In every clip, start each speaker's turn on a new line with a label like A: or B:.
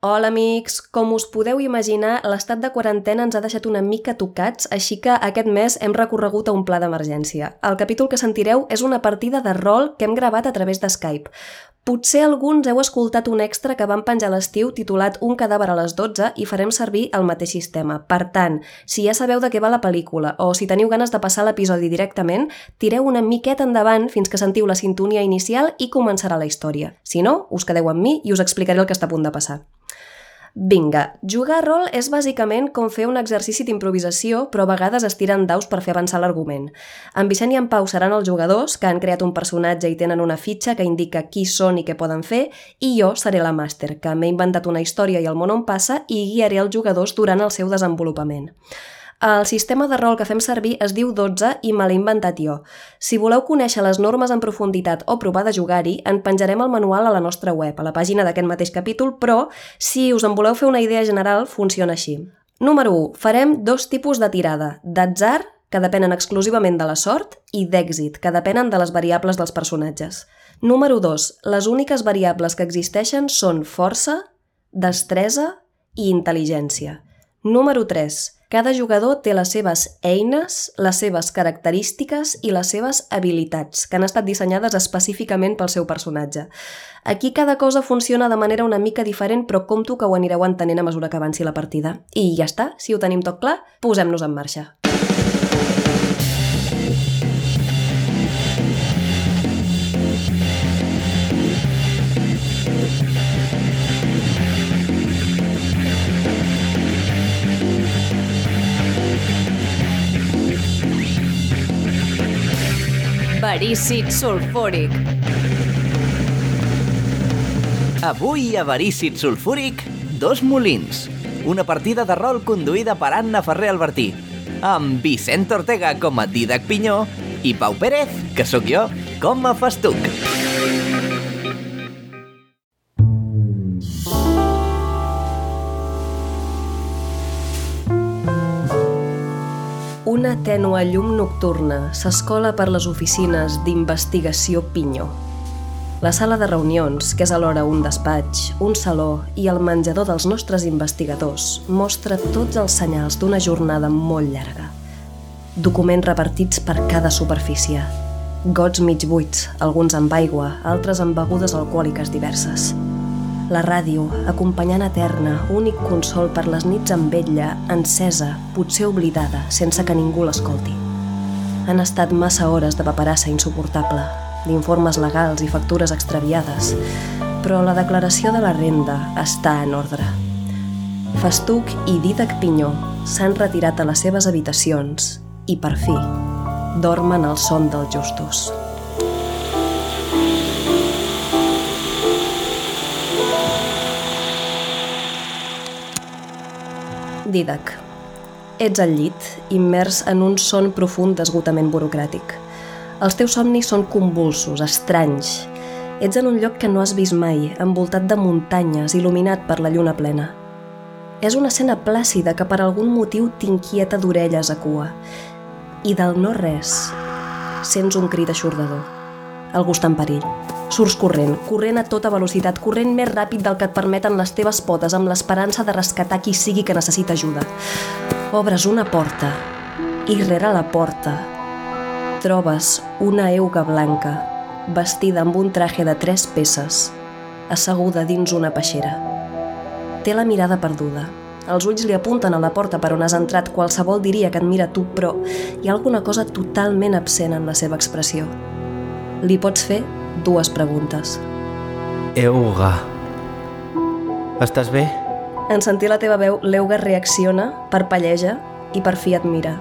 A: Hola, amics! Com us podeu imaginar, l'estat de quarantena ens ha deixat una mica tocats, així que aquest mes hem recorregut a un pla d'emergència. El capítol que sentireu és una partida de rol que hem gravat a través de Skype. Potser alguns heu escoltat un extra que vam penjar a l'estiu titulat Un cadàver a les 12 i farem servir el mateix sistema. Per tant, si ja sabeu de què va la pel·lícula o si teniu ganes de passar l'episodi directament, tireu una miqueta endavant fins que sentiu la sintonia inicial i començarà la història. Si no, us quedeu amb mi i us explicaré el que està a punt de passar. Vinga, jugar a rol és bàsicament com fer un exercici d'improvisació, però a vegades es tiren daus per fer avançar l'argument. En Vicent i en Pau seran els jugadors, que han creat un personatge i tenen una fitxa que indica qui són i què poden fer, i jo seré la màster, que m'he inventat una història i el món on passa i guiaré els jugadors durant el seu desenvolupament. El sistema de rol que fem servir es diu 12 i me l'he inventat jo. Si voleu conèixer les normes en profunditat o provar de jugar-hi, en penjarem el manual a la nostra web, a la pàgina d'aquest mateix capítol, però si us en voleu fer una idea general, funciona així. Número 1. Farem dos tipus de tirada, d'atzar, que depenen exclusivament de la sort, i d'èxit, que depenen de les variables dels personatges. Número 2. Les úniques variables que existeixen són força, destresa i intel·ligència. Número 3. Cada jugador té les seves eines, les seves característiques i les seves habilitats, que han estat dissenyades específicament pel seu personatge. Aquí cada cosa funciona de manera una mica diferent, però compto que ho anireu entenent a mesura que avanci la partida. I ja està, si ho tenim tot clar, posem-nos en marxa.
B: Verícid sulfúric.
C: Avui a Verícid Sulfúric, Dos Molins. Una partida de rol conduïda per Anna Ferrer Albertí. Amb Vicent Ortega com a Didac Pinyó i Pau Pérez, que sóc jo, com a Festuc.
A: Una tènua llum nocturna s'escola per les oficines d'investigació Pinyó. La sala de reunions, que és alhora un despatx, un saló i el menjador dels nostres investigadors, mostra tots els senyals d'una jornada molt llarga. Documents repartits per cada superfície. Gots mig buits, alguns amb aigua, altres amb begudes alcohòliques diverses. La ràdio, acompanyant eterna, únic consol per les nits amb vetlla, encesa, potser oblidada, sense que ningú l'escolti. Han estat massa hores de paperassa insuportable, d'informes legals i factures extraviades, però la declaració de la renda està en ordre. Festuc i Didac Pinyó s'han retirat a les seves habitacions i, per fi, dormen el son dels justos. Didac. Ets al llit, immers en un son profund d'esgotament burocràtic. Els teus somnis són convulsos, estranys. Ets en un lloc que no has vist mai, envoltat de muntanyes, il·luminat per la lluna plena. És una escena plàcida que per algun motiu t'inquieta d'orelles a cua. I del no res, sents un crit aixordador. Algú està en perill. Surs corrent, corrent a tota velocitat, corrent més ràpid del que et permeten les teves potes amb l'esperança de rescatar qui sigui que necessita ajuda. Obres una porta i rere la porta trobes una euga blanca vestida amb un traje de tres peces asseguda dins una peixera. Té la mirada perduda. Els ulls li apunten a la porta per on has entrat, qualsevol diria que et mira a tu, però hi ha alguna cosa totalment absent en la seva expressió. Li pots fer dues preguntes.
D: Euga. Estàs bé?
A: En sentir la teva veu, l'Euga reacciona, parpelleja i per fi et mira.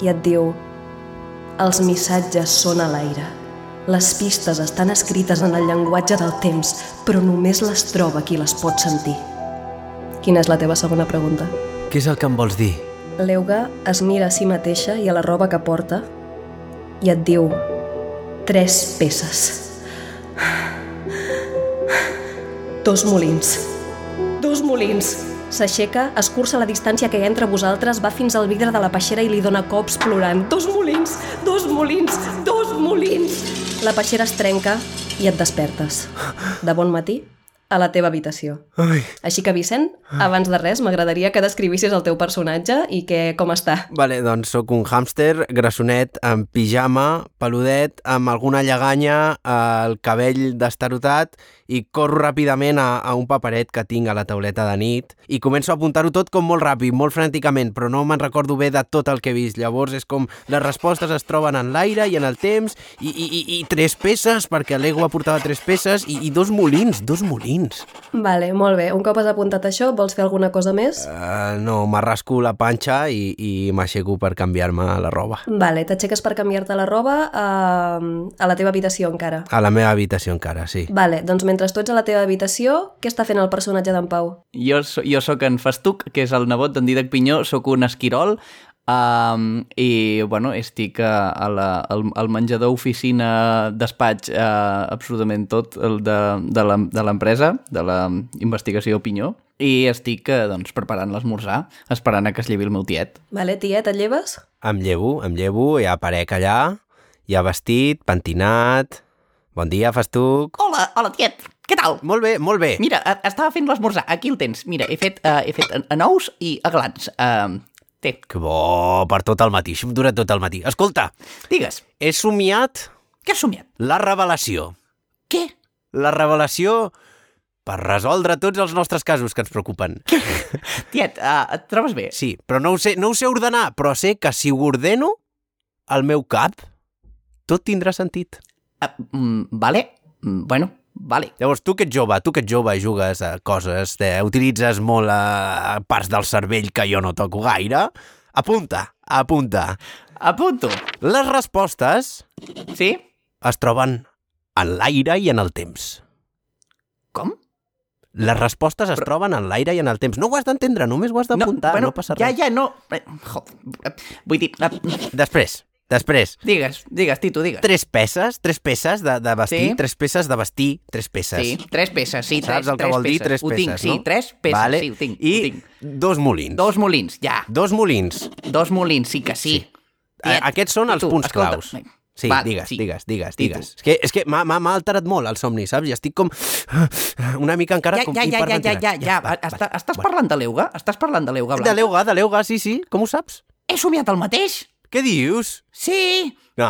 A: I et diu... Els missatges són a l'aire. Les pistes estan escrites en el llenguatge del temps, però només les troba qui les pot sentir. Quina és la teva segona pregunta?
D: Què és el que em vols dir?
A: L'Euga es mira a si mateixa i a la roba que porta i et diu... Tres peces. Dos molins. Dos molins. S'aixeca, escurça la distància que hi ha entre vosaltres, va fins al vidre de la peixera i li dona cops plorant. Dos molins! Dos molins! Dos molins! La peixera es trenca i et despertes. De bon matí, a la teva habitació.
D: Ai.
A: Així que, Vicent, abans de res, m'agradaria que descrivissis el teu personatge i que com està.
D: Vale, doncs sóc un hàmster grassonet amb pijama, peludet, amb alguna lleganya, eh, el cabell destarotat i corro ràpidament a, a un paperet que tinc a la tauleta de nit i començo a apuntar-ho tot com molt ràpid, molt frànticament, però no me'n recordo bé de tot el que he vist. Llavors és com les respostes es troben en l'aire i en el temps i, i, i, i tres peces, perquè l'ego portava tres peces i, i dos molins, dos molins.
A: Vale, molt bé. Un cop has apuntat això, vols fer alguna cosa més?
D: Uh, no, m'arrasco la panxa i, i m'aixeco per canviar-me la roba.
A: Vale, t'aixeques per canviar-te la roba a, a la teva habitació encara.
D: A la meva habitació encara, sí.
A: Vale, doncs mentre tu ets a la teva habitació, què està fent el personatge d'en Pau?
C: Jo, so- jo sóc en Festuc, que és el nebot d'en Didac Pinyó, sóc un esquirol, um, i bueno, estic a, a la, al, al menjador, oficina, despatx, uh, absolutament tot el de, de la- de l'empresa, de la investigació Pinyó, i estic eh, doncs, preparant l'esmorzar, esperant a que es llevi el meu tiet.
A: Vale, tiet, et lleves?
D: Em llevo, em llevo, ja aparec allà, ja vestit, pentinat... Bon dia, festuc...
C: Hola, hola, tiet! Què tal?
D: Molt bé, molt bé.
C: Mira, eh, estava fent l'esmorzar, aquí el tens. Mira, he fet, uh, he fet a nous i a glans. Uh, té,
D: Que bo, per tot el matí, això em dura tot el matí. Escolta,
C: digues,
D: he somiat
C: què has somiat?
D: la revelació.
C: Què?
D: La revelació per resoldre tots els nostres casos que ens preocupen.
C: Tiet, uh, et trobes bé?
D: Sí, però no ho sé, no ho sé ordenar, però sé que si ho ordeno al meu cap, tot tindrà sentit.
C: Ah, mm, vale, Mm, bueno, vale.
D: Llavors, tu que ets jove, tu que ets jove i jugues a coses, eh, utilitzes molt a parts del cervell que jo no toco gaire, apunta, apunta.
C: Apunto.
D: Les respostes
C: Sí?
D: es troben en l'aire i en el temps.
C: Com?
D: Les respostes es troben en l'aire i en el temps. No ho has d'entendre, només ho has d'apuntar, no, bueno, no passa
C: ja,
D: res.
C: ja, no. Eh, Joder, eh, vull dir... eh,
D: Després, després,
C: Digues, digues, Tito, digues.
D: tres peces, tres peces de, de vestir,
C: Sí.
D: tres peces de vestir, tres peces.
C: Sí, tres peces, sí, tres,
D: Saps el que
C: tres
D: vol dir?
C: peces.
D: Tres
C: Ho
D: peces,
C: tinc, sí,
D: no?
C: tres peces,
D: vale.
C: sí, ho tinc,
D: I
C: ho tinc.
D: dos molins.
C: Dos molins, ja.
D: Dos molins.
C: Dos molins, sí que sí.
D: A-
C: Tiet,
D: Eh, Aquests són els
C: Tito,
D: punts
C: escolta,
D: claus.
C: eh,
D: Sí,
C: va,
D: digues,
C: sí.
D: digues, digues,
C: Tito.
D: digues. És que, és que m'ha m'ha- m'ha alterat molt el somni, saps? I estic com... Una mica encara
C: Ja,
D: com
C: ja, ja, ja, ja, ja, ja.
D: va, va.
C: Està, estàs
D: Bueno.
C: parlant de l'Euga? Estàs parlant de l'Euga
D: De
C: Blanca?
D: l'Euga, de l'Euga, sí, sí. Com ho saps?
C: He somiat el mateix?
D: Què dius? Ah,
C: Sí.
D: No,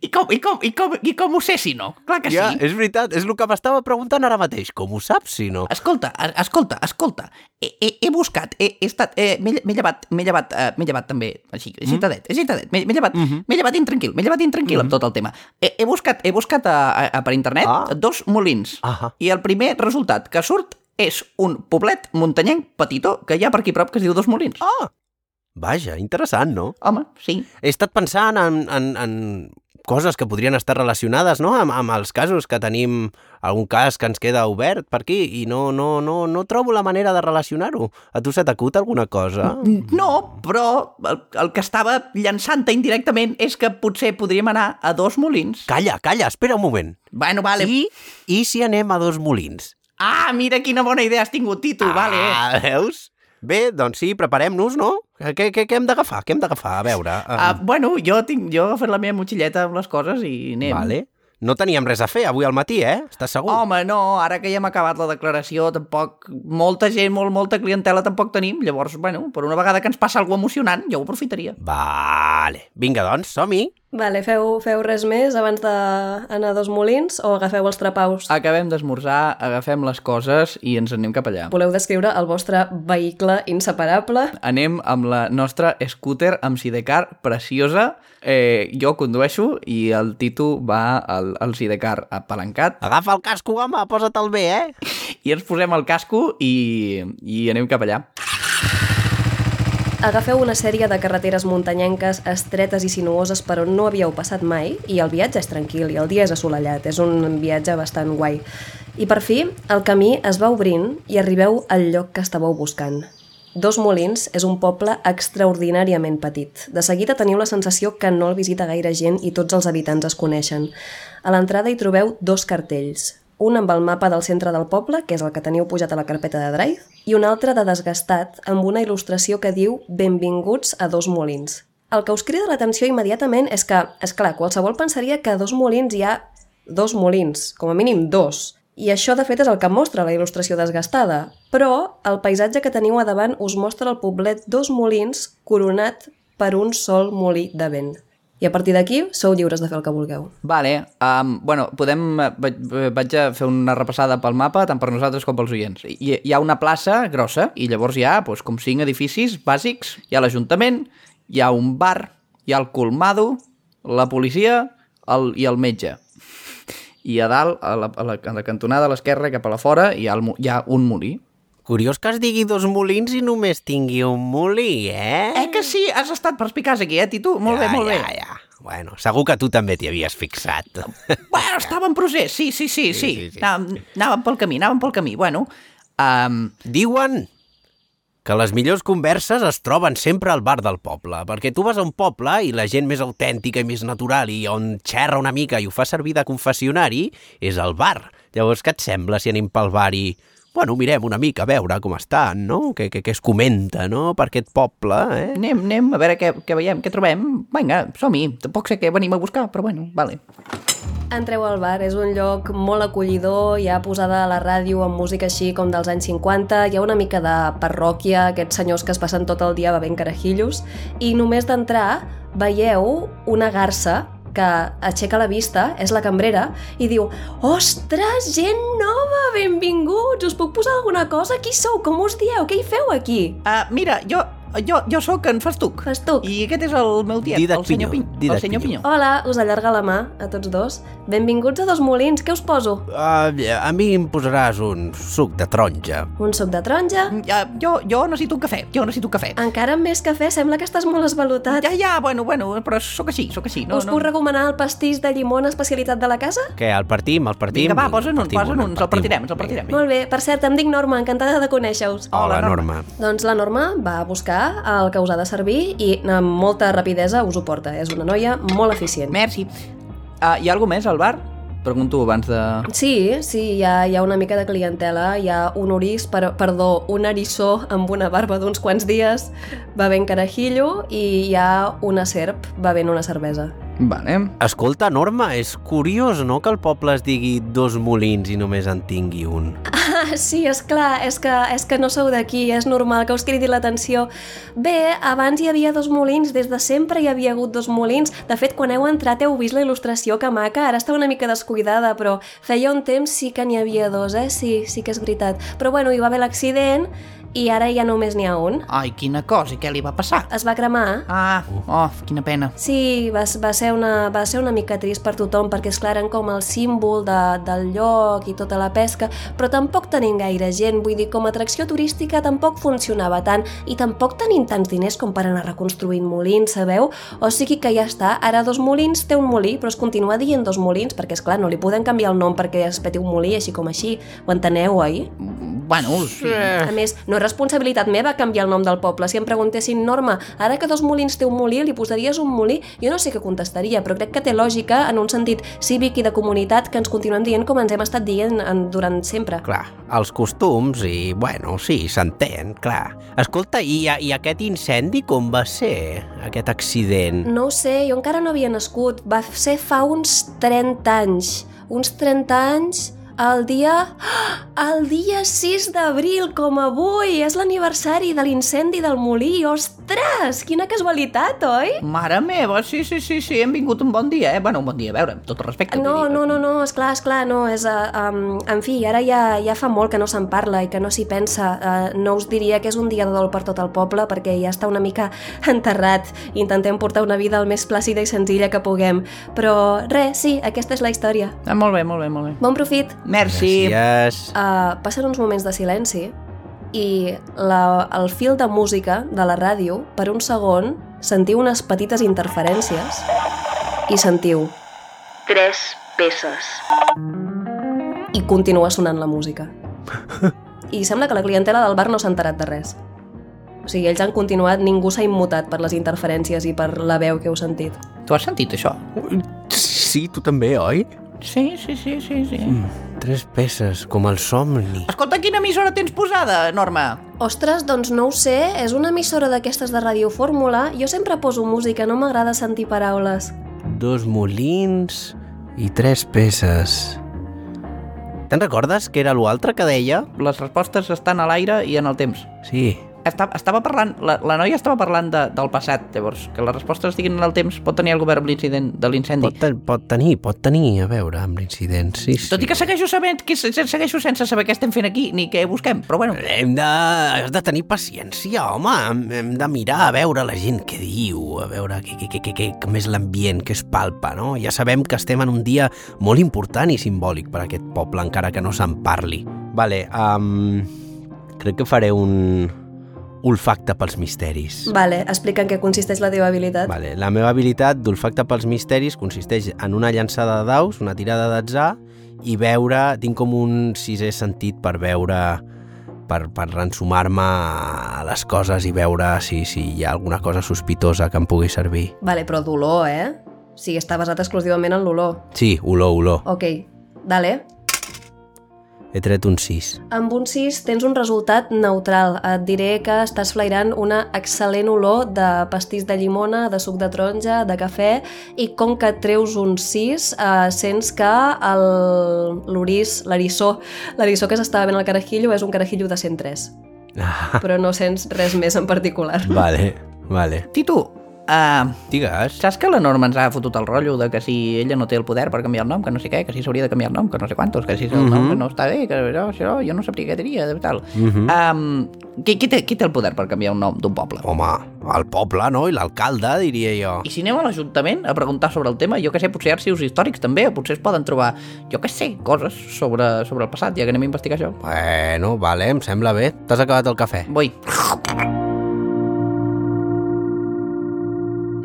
C: I com, i com, i com, i com ho sé si no? Clar que
D: ja, eh.
C: sí.
D: és veritat, és el que m'estava preguntant ara mateix. Com ho saps, si no?
C: Escolta, a- escolta, escolta. He, he, he buscat, he, he estat... eh, M'he m'he llevat, m'he llevat, eh, m'he llevat també, així,
D: Mm-hmm.
C: agitadet, agitadet. M'he m'he llevat, m'he llevat intranquil, m'he llevat intranquil amb tot el tema. He, he buscat, he buscat a, a, a, per internet
D: Ah.
C: dos molins.
D: Ahà.
C: I el primer resultat que surt és un poblet muntanyenc petitó que hi ha per aquí prop que es diu Dos Molins.
D: Ah! Vaja, interessant, no?
C: Home, sí.
D: He estat pensant en, en, en coses que podrien estar relacionades no? amb, amb els casos que tenim algun cas que ens queda obert per aquí i no, no, no, no trobo la manera de relacionar-ho. A tu se t'acut alguna cosa?
C: No, però el, el que estava llançant-te indirectament és que potser podríem anar a dos molins.
D: Calla, calla, espera un moment.
C: Bueno, vale.
D: I, I si anem a dos molins?
C: Ah, mira quina bona idea has tingut, Tito, vale.
D: Ah, veus? Bé, doncs sí, preparem-nos, no? Què, què, què hem d'agafar? Què hem d'agafar? A veure... eh,
C: Ah, bueno, jo, tinc, jo he fet la meva motxilleta amb les coses i anem.
D: Vale. No teníem res a fer avui al matí, eh? Estàs segur?
C: Home, no, ara que ja hem acabat la declaració, tampoc... Molta gent, molt, molta clientela tampoc tenim. Llavors, bueno, per una vegada que ens passa alguna emocionant, jo ho aprofitaria.
D: Vale. Vinga, doncs, som-hi.
A: Vale, feu, feu res més abans d'anar a dos molins o agafeu els trapaus?
C: Acabem d'esmorzar, agafem les coses i ens anem cap allà.
A: Voleu descriure el vostre vehicle inseparable?
C: anem amb la nostra scooter amb sidecar preciosa. Eh, jo condueixo i el Tito va al, al sidecar apalancat
D: Agafa el casco, home, posa't-el bé, eh?
C: i ens posem el casco i, i anem cap allà.
A: Agafeu una sèrie de carreteres muntanyenques estretes i sinuoses per on no havíeu passat mai i el viatge és tranquil i el dia és assolellat, és un viatge bastant guai. I per fi, el camí es va obrint i arribeu al lloc que estàveu buscant. Dos Molins és un poble extraordinàriament petit. De seguida teniu la sensació que no el visita gaire gent i tots els habitants es coneixen. A l'entrada hi trobeu dos cartells, un amb el mapa del centre del poble, que és el que teniu pujat a la carpeta de Drive, i un altre de desgastat, amb una il·lustració que diu «Benvinguts a dos molins». El que us crida l'atenció immediatament és que, és clar, qualsevol pensaria que a dos molins hi ha dos molins, com a mínim dos, I això, de fet, és el que mostra la il·lustració desgastada. Però el paisatge que teniu a davant us mostra el poblet Dos Molins coronat per un sol molí de vent. I a partir d'aquí sou lliures de fer el que vulgueu.
C: Vale, um, bueno, podem... eh, Vaig, eh, vaig a fer una repassada pel mapa, tant per nosaltres com pels oients. Hi, hi ha una plaça grossa, i llavors hi ha doncs, com cinc edificis bàsics. Hi ha l'Ajuntament, hi ha un bar, hi ha el colmado, la policia el, i el metge. I a dalt, a la, a la, a la cantonada a l'esquerra, cap a la fora, hi ha, el, mo- hi ha un molí.
D: Curiós que es digui dos molins i només tingui un molí, eh?
C: Eh que sí, has estat perspicaç aquí, eh, Titu? Molt bé, molt bé.
D: Ja, ja. Bueno, segur que tu també t'hi havies fixat.
C: Bueno, estava en procés, sí, sí, sí, sí. sí, sí,
D: sí, sí.
C: sí. Anàvem, anàvem pel camí, anàvem pel camí. Bueno, um,
D: Diuen que les millors converses es troben sempre al bar del poble, perquè tu vas a un poble i la gent més autèntica i més natural i on xerra una mica i ho fa servir de confessionari és el bar. Llavors, què et sembla si anem pel bar i... Bueno, mirem una mica a veure com estan, no? Què, què, què es comenta, no?, per aquest poble, eh?
C: anem, anem, a veure què, què veiem, què trobem. Vinga, som-hi. Tampoc sé què venim a buscar, però bueno, vale.
A: Entreu al bar, és un lloc molt acollidor, hi ha posada a la ràdio amb música així com dels anys 50, hi ha una mica de parròquia, aquests senyors que es passen tot el dia bevent carajillos, i només d'entrar veieu una garça que aixeca la vista, és la cambrera, i diu «Ostres, gent nova, benvinguts! Us puc posar alguna cosa? Qui sou? Com us dieu? Què hi feu aquí?»
C: Uh, mira, jo, jo, jo sóc en Festuc.
A: Festuc.
C: I aquest és el meu tiet,
D: Didac
C: el senyor
D: Pinyó,
C: Pinyó.
D: Didac
C: El senyor
D: Pinyó.
C: Pinyó.
A: Hola, us allarga la mà a tots dos. Benvinguts a Dos Molins, què us poso?
D: Uh, a mi em posaràs un suc de taronja.
A: Un suc de taronja?
C: Uh, jo, jo necessito un cafè, jo necessito un cafè. Ah,
A: Encara amb més cafè, sembla que estàs molt esvalutat.
C: Ja, ja, bueno, bueno, però sóc així, sóc així. No,
A: Us puc
C: no.
A: recomanar el pastís de llimona especialitat de la casa?
D: Què, el partim, el partim?
C: Vinga, va, posa'n un,
D: Partim
C: posa'n un, el
D: partim
C: partirem, el partirem.
A: Molt bé, per cert, em dic Norma, encantada de conèixer-us.
C: Hola,
D: Hola, Norma.
A: Doncs la Norma va a buscar el que us ha de servir i amb molta rapidesa us ho porta. És una noia molt eficient.
C: Merci. Uh, hi ha algú més al bar? Pregunto abans de...
A: Sí, sí, hi ha, hi ha una mica de clientela, hi ha un orís, per, perdó, un erissó amb una barba d'uns quants dies bevent carajillo i hi ha una serp bevent una cervesa.
C: Vale.
D: Escolta, Norma, és curiós, no?, que el poble es digui dos molins i només en tingui un.
A: Ah, Sí, és clar, és que, és que no sou d'aquí, és normal que us cridi l'atenció. Bé, abans hi havia dos molins, des de sempre hi havia hagut dos molins. De fet, quan heu entrat heu vist la il·lustració que maca, ara està una mica descuidada, però feia un temps sí que n'hi havia dos, eh? Sí, sí que és veritat. Però bueno, hi va haver l'accident i ara ja només n'hi ha un.
C: Ai, quina cosa, què li va passar?
A: Es va cremar.
C: Ah, oh, quina pena.
A: Sí, va, va, ser una, va ser una mica trist per tothom perquè, és clar, eren com el símbol de, del lloc i tota la pesca, però tampoc tenim gaire gent, vull dir, com a atracció turística tampoc funcionava tant i tampoc tenim tants diners com per anar reconstruint molins, sabeu? O sigui que ja està, ara dos molins té un molí, però es continua dient dos molins perquè, és clar, no li podem canviar el nom perquè es peti un molí així com així, ho enteneu, oi?
C: Bueno, sí.
A: A més, no és responsabilitat meva canviar el nom del poble. Si em preguntessin, Norma, ara que dos molins té un molí, li posaries un molí? Jo no sé què contestaria, però crec que té lògica en un sentit cívic i de comunitat que ens continuem dient com ens hem estat dient en, durant sempre.
D: Clar, els costums i, bueno, sí, s'entén, clar. Escolta, i, i aquest incendi com va ser, aquest accident?
A: No ho sé, jo encara no havia nascut. Va ser fa uns 30 anys. Uns 30 anys el dia... El dia 6 d'abril, com avui! És l'aniversari de l'incendi del molí! Ostres! Quina casualitat, oi?
C: Mare meva, sí, sí, sí, sí, hem vingut un bon dia, eh? Bueno, un bon dia, a veure, amb tot el respecte.
A: No,
C: vull dir,
A: no, no, no, esclar, esclar, no, és... Uh, um, en fi, ara ja, ja fa molt que no se'n parla i que no s'hi pensa. Uh, no us diria que és un dia de dol per tot el poble perquè ja està una mica enterrat. Intentem portar una vida el més plàcida i senzilla que puguem. Però res, sí, aquesta és la història.
C: Ah, molt bé, molt bé, molt bé.
A: Bon profit!
C: Merci.
D: eh?
C: Ah.
D: Gràcies.
A: Uh, passen uns moments de silenci i la, el fil de música de la ràdio, per un segon, sentiu unes petites interferències i sentiu...
E: Tres peces.
A: i continua sonant la música. I sembla que la clientela del bar no s'ha enterat de res. O sigui, ells han continuat, ningú s'ha immutat per les interferències i per la veu que heu sentit.
C: Tu has sentit això?
D: Sí, tu també, oi?
C: Sí, sí, sí, sí, sí.
D: Tres peces, com el somni.
C: Escolta, quina emissora tens posada, Norma?
A: Ostres, doncs no ho sé, és una emissora d'aquestes de Radio Fórmula. Jo sempre poso música, no m'agrada sentir paraules.
D: Dos molins i tres peces. Te'n recordes que era l'altre que deia?
C: Les respostes estan a l'aire i en el temps.
D: Sí.
C: Estava, estava parlant, la, la noia estava parlant de, del passat, llavors. Que les respostes estiguin en el temps pot tenir el govern amb l'incident de l'incendi.
D: Pot, ten- pot tenir, pot tenir a veure amb l'incident, sí, sí.
C: Tot i que segueixo, sabent, que se- se- segueixo sense saber què estem fent aquí ni què busquem, però bueno.
D: Hem de... Has de tenir paciència, home. Hem- Hem de mirar a veure la gent què diu, a veure què, què, què, què, què, com és l'ambient, què es palpa, no? Ja sabem que estem en un dia molt important i simbòlic per a aquest poble, encara que no se'n parli. Vale, um, crec que faré un olfacte pels misteris.
A: Vale, explica en què consisteix la teva habilitat.
D: Vale, la meva habilitat d'olfacte pels misteris consisteix en una llançada de daus, una tirada d'atzar i veure, tinc com un sisè sentit per veure per, per ensumar-me a les coses i veure si, si hi ha alguna cosa sospitosa que em pugui servir.
A: Vale, però d'olor, eh? O sigui, està basat exclusivament en l'olor.
D: Sí, olor, olor.
A: Ok, dale.
D: He tret un 6.
A: Amb un 6 tens un resultat neutral. Et diré que estàs flairant una excel·lent olor de pastís de llimona, de suc de taronja, de cafè, i com que et treus un 6, eh, sents que el- l'orís, l'arissó, l'arissó que s'estava ben al carajillo és un carajillo de 103,
D: Ah,
A: però no sents res més en particular.
D: vale, vale.
C: Titu, uh,
D: Digues.
C: saps que la Norma ens ha fotut el rotllo de que si ella no té el poder per canviar el nom, que no sé què, que si s'hauria de canviar el nom, que no sé quantos, que si el nom que no està bé, que això, això jo no sabria què diria, de tal. Uh -huh. qui, qui, té, qui té el poder per canviar un nom d'un poble?
D: Home, el poble, no? I l'alcalde, diria jo.
C: I si aneu a l'Ajuntament a preguntar sobre el tema, jo que sé, potser arxius històrics també, o potser es poden trobar, jo que sé, coses sobre, sobre el passat, ja que anem a investigar això.
D: Bueno, vale, em sembla bé. T'has acabat el cafè.
C: Vull.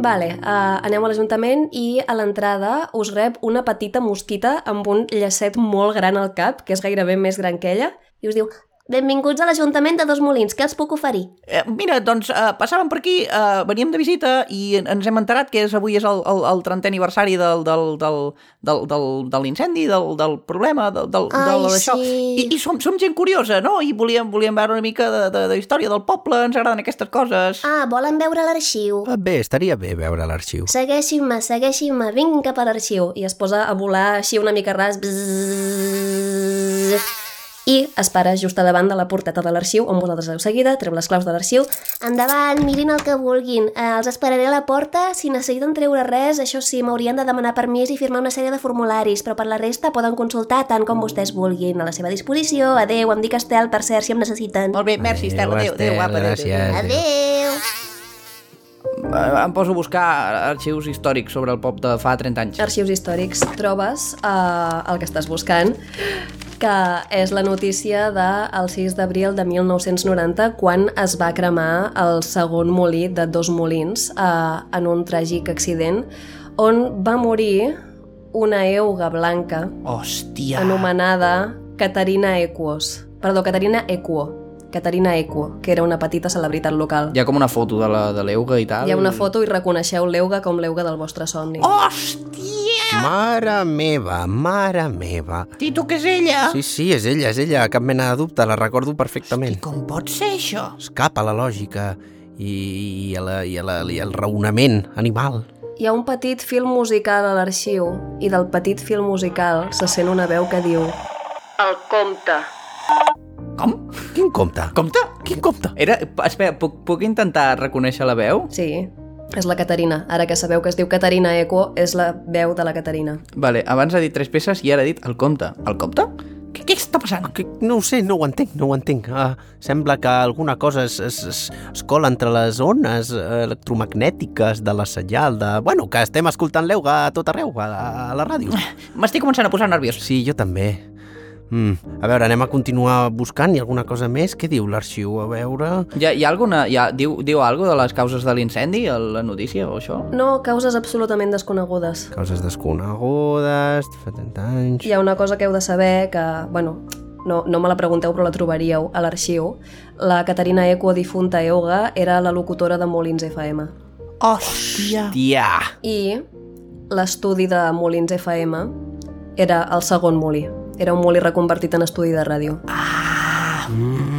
A: Vale, uh, anem a l'Ajuntament i a l'entrada us rep una petita mosquita amb un llacet molt gran al cap, que és gairebé més gran que ella, i us diu Benvinguts a l'Ajuntament de Dos Molins, què els puc oferir?
C: Eh, mira, doncs eh, passàvem per aquí, eh, veníem de visita i en- ens hem enterat que és, avui és el, el, el 30è aniversari del, del, del, del, del, de l'incendi, del, del problema, del, del,
F: Ai,
C: del d'això.
F: sí.
C: I, I som, som gent curiosa, no? I volíem, volíem veure una mica de, de, de història del poble, ens agraden aquestes coses.
F: Ah, volen veure l'arxiu?
D: Bé, estaria bé veure l'arxiu.
F: Segueixiu-me, segueixiu-me, vinc cap a l'arxiu.
A: I es posa a volar així una mica ras bzzz, i es para just a davant de la porteta de l'arxiu on vosaltres heu seguida, treu les claus de l'arxiu
F: Endavant, mirin el que vulguin. Eh, els esperaré a la porta. Si necessiten treure res, això sí, m'haurien de demanar permís i firmar una sèrie de formularis, però per la resta poden consultar tant
C: Mm.
F: com vostès vulguin. A la seva disposició. Adeu, em dic Estel, per cert, si em necessiten.
C: Molt bé, merci, Estela, adéu, adéu, guapa, adéu, adéu.
D: gràcies.
F: Adeu.
C: Eh, Em poso a buscar arxius històrics sobre el pop de fa 30 anys.
A: arxius històrics trobes eh, el que estàs buscant que és la notícia del 6 d'abril de 1990 quan es va cremar el segon molí de dos molins eh, en un tràgic accident on va morir una euga blanca
C: Hòstia.
A: anomenada Caterina Equos. Perdó, Caterina Equo. Caterina Equo, que era una petita celebritat local.
C: Hi ha com una foto de la- de l'Euga i tal.
A: Hi ha una foto i reconeixeu l'euga com l'euga del vostre somni.
C: Hòstia!
D: Mare meva, mare meva.
C: Tito, que és ella?
D: Sí, sí, és ella, és ella, cap mena de dubte, la recordo perfectament.
C: Com pot ser això?
D: Escapa la lògica i, i, a la, i, a la, i el raonament animal.
A: Hi ha un petit fil musical a l'arxiu i del petit fil musical se sent una veu que diu
G: El compte.
C: Com?
D: Quin compte?
C: Compte? Quin compte? Era... Espera, puc, puc intentar reconèixer la veu?
A: Sí, és la Caterina. Ara que sabeu que es diu Caterina Eco, és la veu de la Caterina.
C: Vale, abans ha dit tres peces i ara ha dit el compte. El compte? Què, què està passant? Que...
D: No ho sé, no ho entenc, no ho entenc. Uh, sembla que alguna cosa es, es, es, es cola entre les ones eh, electromagnètiques de la senyal de... Bueno, que estem escoltant l'euga a tot arreu, a, a la ràdio.
C: M'estic començant a posar nerviós.
D: Sí, jo també. Mm. A veure, anem a continuar buscant. Hi ha alguna cosa més? Què diu l'arxiu? A veure...
C: Hi ha, hi ha alguna... Hi ha, diu, diu alguna de les causes de l'incendi, a la notícia o això?
A: No, causes absolutament desconegudes.
D: Causes desconegudes, fa 30 anys...
A: Hi ha una cosa que heu de saber que, bueno, no, no me la pregunteu però la trobaríeu a l'arxiu. La Caterina Eco, difunta Euga, era la locutora de Molins FM.
C: Hòstia! Hòstia!
A: I l'estudi de Molins FM era el segon molí. Era un molí reconvertit en estudi de ràdio.
C: Mm.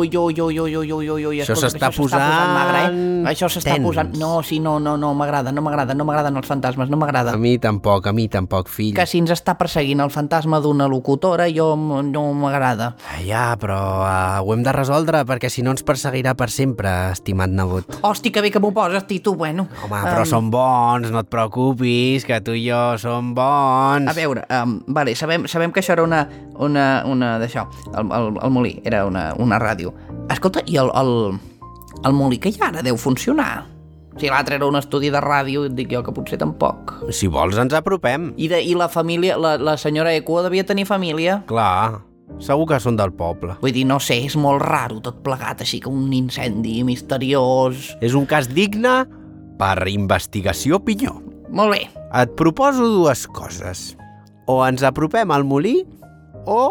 C: ui, ui, ui, ui, ui, ui, ui, ui.
D: Això
C: escolta,
D: s'està
C: magra,
D: posant
C: eh? Això s'està
D: tens.
C: posant... No, sí, no, no, no, m'agrada, no m'agrada, no m'agraden els fantasmes, no m'agrada.
D: A mi tampoc, a mi tampoc, fill.
C: Que si ens està perseguint el fantasma d'una locutora, jo m- no m'agrada.
D: Ah, Ja, però uh, ho hem de resoldre perquè si no ens perseguirà per sempre, estimat nebot.
C: Hosti, que bé que m'ho poses, Tito, bueno.
D: Home, però som bons, no et preocupis, que tu i jo som bons.
C: A veure, um, vale, sabem, sabem que això era una, una, una d'això, el, el, el molí, era una, una ràdio. Escolta, i el, el, el molí que hi ha ara deu funcionar? Si l'altre era un estudi de ràdio, et dic jo que potser tampoc.
D: Si vols ens apropem.
C: I, de, i la família, la, la senyora Eco devia tenir família?
D: Clar, segur que són del poble.
C: Vull dir, no sé, és molt raro tot plegat, així que un incendi misteriós...
D: És un cas digne per investigació pinyó.
C: Molt bé,
D: Et proposo dues coses. O ens apropem al molí o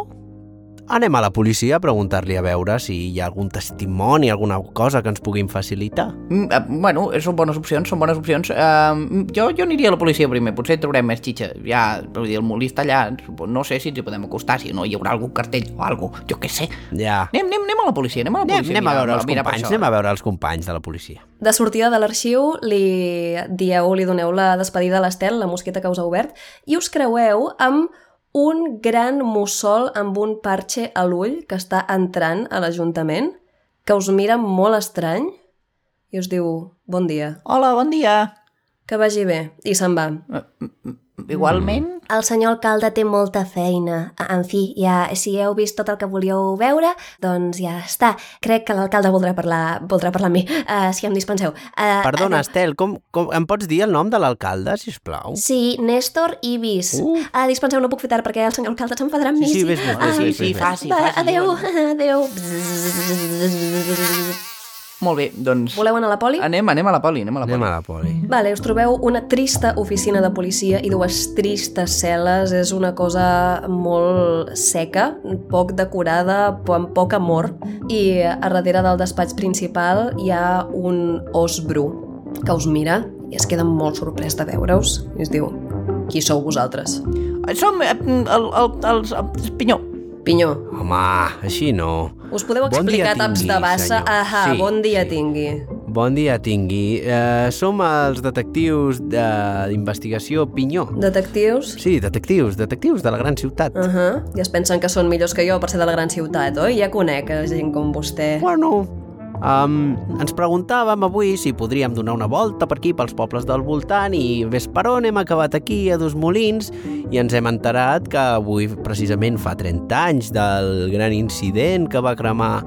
D: anem a la policia a preguntar-li a veure si hi ha algun testimoni, alguna cosa que ens puguin facilitar.
C: Mm, eh, bueno, són bones opcions, són bones opcions. Uh, jo, jo aniria a la policia primer, potser trobarem més xitxa. Ja, vull dir, el molí està allà, supo- no sé si ens hi podem acostar, si no hi haurà algun cartell o alguna cosa, jo què sé.
D: Ja.
C: Anem, anem, anem a la policia, anem a la
D: Anem,
C: policia.
D: anem a veure els
C: mira,
D: companys, anem a veure els companys de la policia.
A: De sortida de l'arxiu, li dieu, li doneu la despedida a l'Estel, la mosqueta que us ha obert, i us creueu amb un gran mussol amb un parxe a l'ull que està entrant a l'Ajuntament, que us mira molt estrany i us diu, bon dia,
C: Hola, bon dia.
A: que vagi bé, i se'n va.
C: Igualment...
H: El senyor alcalde té molta feina. A- En fi, ja, si heu vist tot el que volíeu veure, doncs ja està. Crec que l'alcalde voldrà parlar, voldrà parlar amb mi, uh, si em dispenseu. Uh,
D: Perdona, Estel, com, com, em pots dir el nom de l'alcalde, si us plau?
H: Sí, Néstor Ibis. Uh. Uh, dispenseu, no puc fer tard perquè el senyor alcalde s'enfadarà amb mi.
D: Sí, sí, vés, vés,
H: Ah,
D: vés, vés,
C: sí,
D: vés.
C: faci,
H: Va,
C: faci.
H: adeu, adeu.
D: Mm.
C: Molt bé, doncs...
A: Voleu anar a la poli?
C: Anem, anem a la poli, anem a la
D: Anem
C: poli.
D: a la poli.
A: Vale, us trobeu una trista oficina de policia i dues tristes cel·les. És una cosa molt seca, poc decorada, po- amb poc amor. I a darrere del despatx principal hi ha un os bru que us mira i es queda molt sorprès de veure-us. I es diu, qui sou vosaltres?
C: Som eh, el, el, els... els Pinyó.
A: Pinyó,
D: Home, així no.
A: us podeu
D: Bon dia
A: explicar taps
D: tingui,
A: de bassa?
D: senyor.
A: Ahà,
D: Sí,
A: bon dia
D: sí.
A: tingui.
D: Bon dia tingui. Eh, som els detectius de- d'investigació Pinyó.
A: Detectius?
D: Sí, detectius, detectius de la gran ciutat.
A: Uh -huh. I es pensen que són millors que jo per ser de la gran ciutat, oi? Ja conec eh, gent com vostè.
D: Bueno, um, ens preguntàvem avui si podríem donar una volta per aquí, pels pobles del voltant, i ves per on hem acabat aquí, a Dos Molins, i ens hem enterat que avui, precisament fa 30 anys del gran incident que va cremar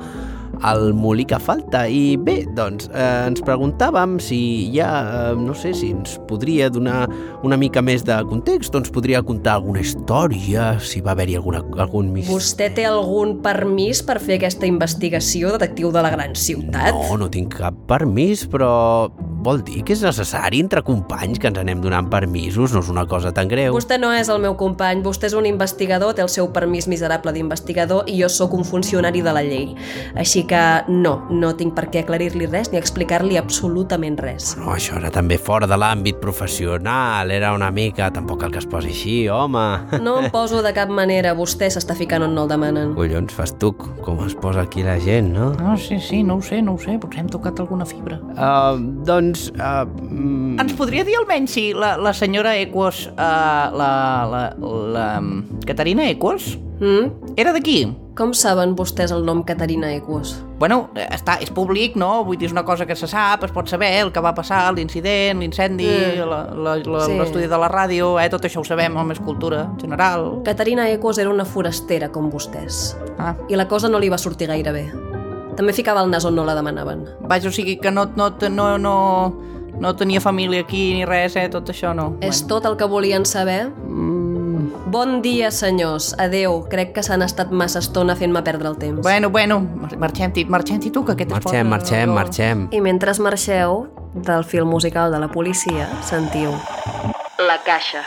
D: el molí que falta. I bé, doncs, eh, ens preguntàvem si ja, eh, no sé, si ens podria donar una mica més de context, o ens podria contar alguna història, si va haver-hi alguna, algun misteri.
A: Vostè té algun permís per fer aquesta investigació, detectiu de la gran ciutat?
D: No, no tinc cap permís, però vol dir que és necessari entre companys que ens anem donant permisos, no és una cosa tan greu.
A: Vostè no és el meu company, vostè és un investigador, té el seu permís miserable d'investigador i jo sóc un funcionari de la llei. Així que no, no tinc per què aclarir-li res ni explicar-li absolutament res.
D: No, això era també fora de l'àmbit professional, era una mica... Tampoc cal que es posi així, home.
A: No em poso de cap manera, vostè s'està ficant on no el demanen.
D: Collons, fas tu com es posa aquí la gent, no?
C: No, Ah, sí, sí, no ho sé, no ho sé, potser hem tocat alguna fibra.
D: Uh, doncs... Uh, mm,
C: Ens podria dir almenys si la, la senyora Equos, uh, la, la, la... mm, Caterina Equos,
A: Mm?
C: era d'aquí?
A: Com saben vostès el nom Caterina Equos?
C: Bueno, eh, està, és públic, no? Vull dir, és una cosa que se sap, es pot saber, el que va passar, l'incident, l'incendi,
A: Mm. Sí.
C: mm. l'estudi de la ràdio, eh? Tot això ho sabem, home, és cultura general.
A: Caterina Equos era una forastera com vostès.
C: Ah.
A: i la cosa no li va sortir gaire bé. També ficava el nas on no la demanaven.
C: Vaja, o sigui que no, no, no, no, no tenia família aquí ni res, eh? Tot això no.
A: És tot el que volien saber?
C: Mm.
A: Bon dia, senyors. Adeu. Crec que s'han estat massa estona fent-me perdre el temps.
C: Bueno, bueno, mar- marxem-t'hi, marxem-t'hi tu, que aquest es posa...
D: marxem, marxem, marxem.
A: I mentre marxeu del film musical de la policia, sentiu...
I: La caixa.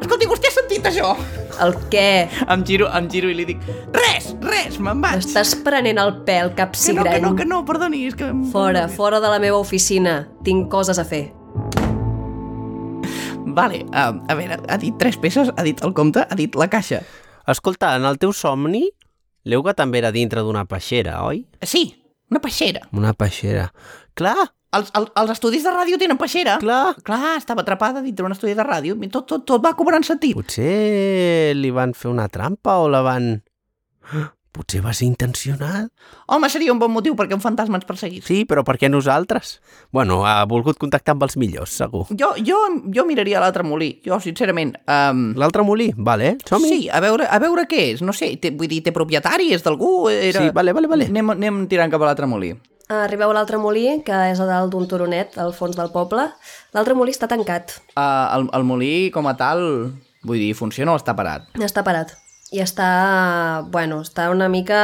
C: Escolti, vostè ha sentit això?
A: El què?
C: Em giro, em giro i li dic Res, res, me'n vaig
A: Estàs prenent el pèl, cap
C: que no,
A: cigrany.
C: que no, que no, perdoni és que...
A: Fora, fora de la meva oficina. Tinc coses a fer.
C: Vale, a, a veure, ha dit tres peces, ha dit el compte, ha dit la caixa
D: Escolta, en el teu somni L'Euga també era dintre d'una peixera, oi?
C: Sí, una peixera.
D: Una peixera. Clar,
C: Els, els, els estudis de ràdio tenen peixera.
D: clar.
C: Clar, estava atrapada dintre d'un estudi de ràdio. Tot, tot, tot va cobrant sentit.
D: Potser li van fer una trampa o la van... Potser va ser intencional.
C: Home, seria un bon motiu perquè un fantasma ens perseguís.
D: Sí, però per què nosaltres? Bueno, ha volgut contactar amb els millors, segur.
C: Jo, jo, jo miraria l'altre molí. Jo, sincerament... Um...
D: L'altre molí, vale, som-hi.
C: Sí, a veure, a veure què és. No sé, té, vull dir, té propietari, és d'algú... Era...
D: Sí, vale, vale, vale.
C: Anem, anem tirant cap a l'altre molí.
A: Arribeu a l'altre molí, que és a dalt d'un turonet, al fons del poble. L'altre molí està tancat,
C: Uh, el, el molí, com a tal, vull dir, funciona o està parat?
A: està parat. I està, bueno, està una mica...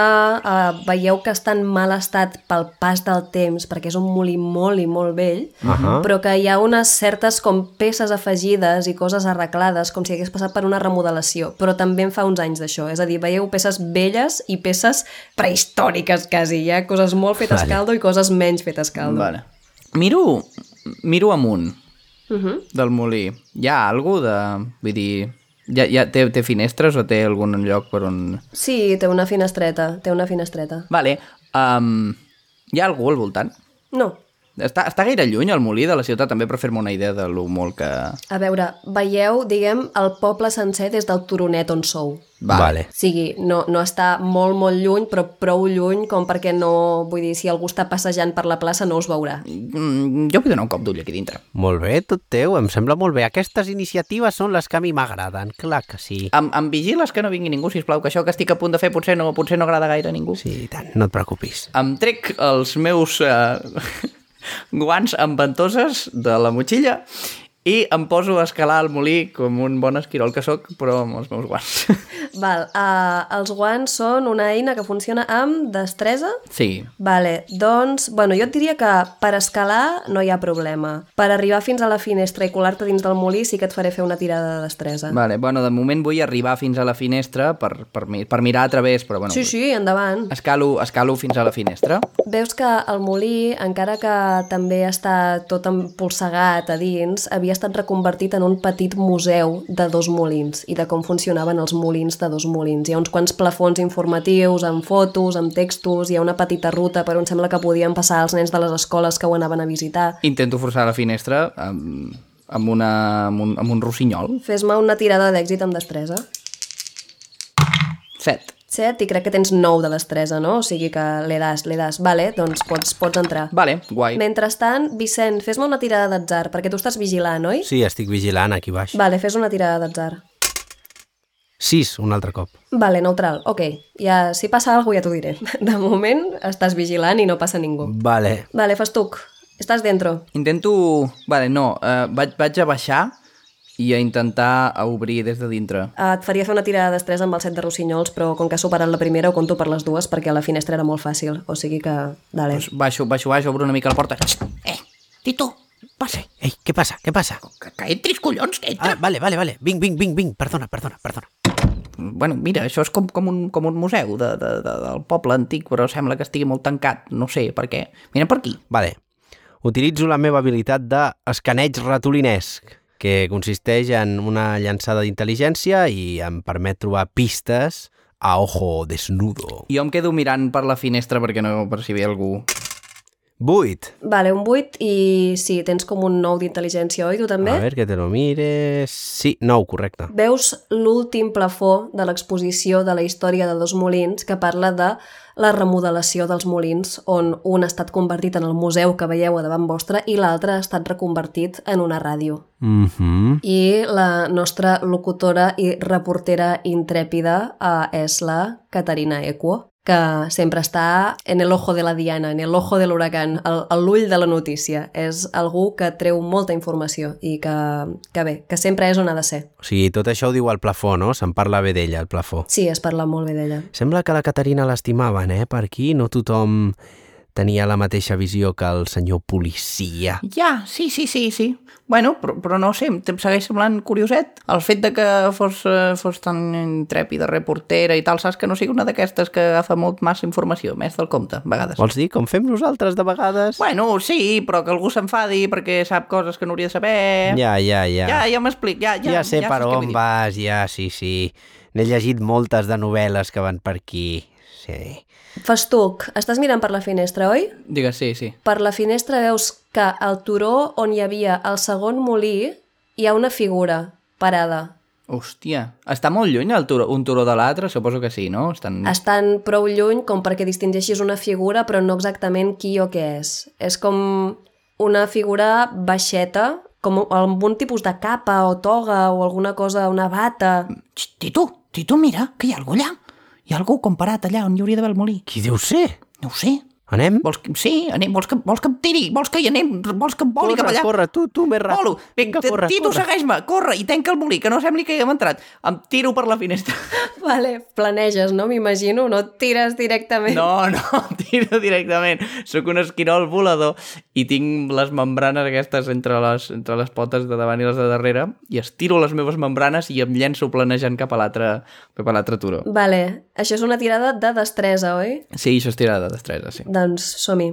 A: Uh, veieu que està en mal estat pel pas del temps, perquè és un molí molt i molt vell, uh -huh. però que hi ha unes certes com peces afegides i coses arreglades, com si hagués passat per una remodelació, però també en fa uns anys d'això. És a dir, veieu peces velles i peces prehistòriques, quasi. Hi ha coses molt fetes
D: Vale.
A: vale. caldo i coses menys fetes caldo.
C: Vale. Miro, miro amunt
A: Uh -huh.
C: del molí. Hi ha algú de... Vull dir, ja, ja té, té finestres o té algun lloc per on...
A: Sí, té una finestreta, té una finestreta.
C: Vale. Um, hi ha algú al voltant?
A: No,
C: Està, està gaire lluny el molí de la ciutat, també, per fer-me una idea de lo molt que...
A: A veure, veieu, diguem, el poble sencer des del turonet on sou.
D: Vale.
A: O sigui, no, no està molt, molt lluny, però prou lluny com perquè no... Vull dir, si algú està passejant per la plaça no us veurà.
C: Mm, jo vull donar un cop d'ull aquí dintre.
D: Molt bé, tot teu, em sembla molt bé. Aquestes iniciatives són les que a mi m'agraden, clar que sí.
C: Em, em vigiles que no vingui ningú, si plau, que això que estic a punt de fer potser no, potser no agrada gaire a ningú.
D: Sí, i tant, no et preocupis.
C: Em trec els meus eh, guants amb ventoses de la motxilla i em poso a escalar al molí com un bon esquirol que sóc, però amb els meus guants.
A: Val, uh, els guants són una eina que funciona amb destresa.
C: Sí.
A: Vale, doncs, bueno, jo et diria que per escalar no hi ha problema. Per arribar fins a la finestra i colar-te dins del molí sí que et faré fer una tirada de destresa.
C: Vale, bueno, de moment vull arribar fins a la finestra per, per, mi- per mirar a través, però bueno,
A: Sí, sí, endavant.
C: Escalo, escalo fins a la finestra.
A: Veus que el molí, encara que també està tot empolsegat a dins, havia estat reconvertit en un petit museu de dos molins i de com funcionaven els molins de dos molins. Hi ha uns quants plafons informatius, amb fotos, amb textos, hi ha una petita ruta per on sembla que podien passar els nens de les escoles que ho anaven a visitar.
C: Intento forçar la finestra amb, amb, una, amb, un, amb un rossinyol.
A: Fes-me una tirada d'èxit amb destresa.
C: Set.
A: Set, i crec que tens nou de destresa, no? O sigui que le das, le das. Vale, doncs pots, pots entrar.
C: Vale, guai.
A: Mentrestant, Vicent, fes-me una tirada d'atzar, perquè tu estàs vigilant, oi?
D: Sí, estic vigilant aquí baix.
A: Vale, fes una tirada d'atzar.
D: Sis, un altre cop.
A: Vale, neutral, ok. Ja, si passa alguna cosa ja t'ho diré. De moment estàs vigilant i no passa ningú.
D: Vale.
A: Vale, fas tuc. Estàs dentro.
C: Intento... Vale, no, eh, vaig, vaig a baixar i a intentar a obrir des de dintre.
A: Eh, Et faria fer una tirada de destresa amb el set de rossinyols, però com que has superat la primera, ho conto per les dues, perquè la finestra era molt fàcil. O sigui que... Dale.
C: Pues baixo, baixo, baixo, obro una mica la porta. Xt! Eh, Tito, passa.
D: Ei, què passa? Què passa?
C: Que, que entris, collons, que entra.
D: Ah, vale, vale, vale. Vinc, vinc, vinc, vinc. Perdona, perdona, perdona.
C: Bueno, mira, això és com, com, un, com un museu de, de, de, del poble antic, però sembla que estigui molt tancat. No sé per què. Mira per aquí.
D: Vale. Utilitzo la meva habilitat d'escaneig ratolinesc, que consisteix en una llançada d'intel·ligència i em permet trobar pistes a ojo desnudo.
C: Jo em quedo mirant per la finestra perquè no percibia algú.
D: Vuit.
A: Vale, un 8 i sí, tens com un 9 d'intel·ligència, oi? Tu també?
D: A veure, que te lo mires... Sí, nou, correcte.
A: Veus l'últim plafó de l'exposició de la història de dos molins que parla de la remodelació dels molins, on un ha estat convertit en el museu que veieu a davant vostre i l'altre ha estat reconvertit en una ràdio.
D: Mhm. Mm
A: I la nostra locutora i reportera intrèpida eh, és la Caterina Equo, que sempre està en el ojo de la diana, en el ojo de l'huracán, al- a l'ull de la notícia. És algú que treu molta informació i que, que bé, que sempre és on ha de ser.
D: o sigui, tot això ho diu el plafó, no? Se'n parla bé d'ella, el plafó.
A: Sí, es parla molt bé d'ella.
D: Sembla que la Caterina l'estimaven, eh? Per aquí no tothom tenia la mateixa visió que el senyor policia.
C: Ja, sí, sí, sí, sí. Bueno, però, però no ho sé, em em segueix semblant curioset. El fet de que fos, eh, fos tan intrèpida reportera i tal, saps que no sigui una d'aquestes que agafa molt massa informació, més del compte, a vegades.
D: Vols dir com fem nosaltres de vegades?
C: Bueno, sí, però que algú s'enfadi perquè sap coses que no hauria de saber...
D: Ja, ja, ja.
C: ja, ja m'explic, ja, ja.
D: ja sé
C: ja
D: per
C: saps què
D: on
C: vull dir.
D: vas, ja, sí, sí. N'he llegit moltes de novel·les que van per aquí. Sí.
A: Festuc, estàs mirant per la finestra, oi?
J: Digues, sí, sí.
A: Per la finestra veus que al turó on hi havia el segon molí hi ha una figura parada.
J: Hòstia, està molt lluny el turó, un turó de l'altre? Suposo que sí, no? Estan...
C: Mm.
A: Estan prou lluny com perquè distingeixis una figura però no exactament qui o què és. És com una figura baixeta, com amb un tipus de capa o toga o alguna cosa, una bata.
J: Xt, Titu, Titu, mira, que hi ha algú allà. Hi ha algú comparat allà on hi hauria d'haver el molí.
D: Qui deu ser?
J: No ho sé.
D: Anem?
J: Vols que... Sí, anem, vols que, vols que em tiri, vols que hi anem, vols que em voli cap allà.
D: corre, tu, tu, més ràpid.
J: Volo, vinga,
D: corre,
J: Titu,
D: corre.
J: segueix-me, corre, i tanca el molí, que no sembli que hi hem entrat. Em tiro per la finestra.
A: Vale, planeges, no? M'imagino, no et tires directament.
J: No, no, em tiro directament. Sóc un esquirol volador i tinc les membranes aquestes entre les, entre les potes de davant i les de darrere i estiro les meves membranes i em llenço planejant cap a l'altre cap a l'altre turó.
A: Vale, això és una tirada de destresa, oi?
J: Sí, això és tirada de destresa, sí.
A: Doncs som-hi.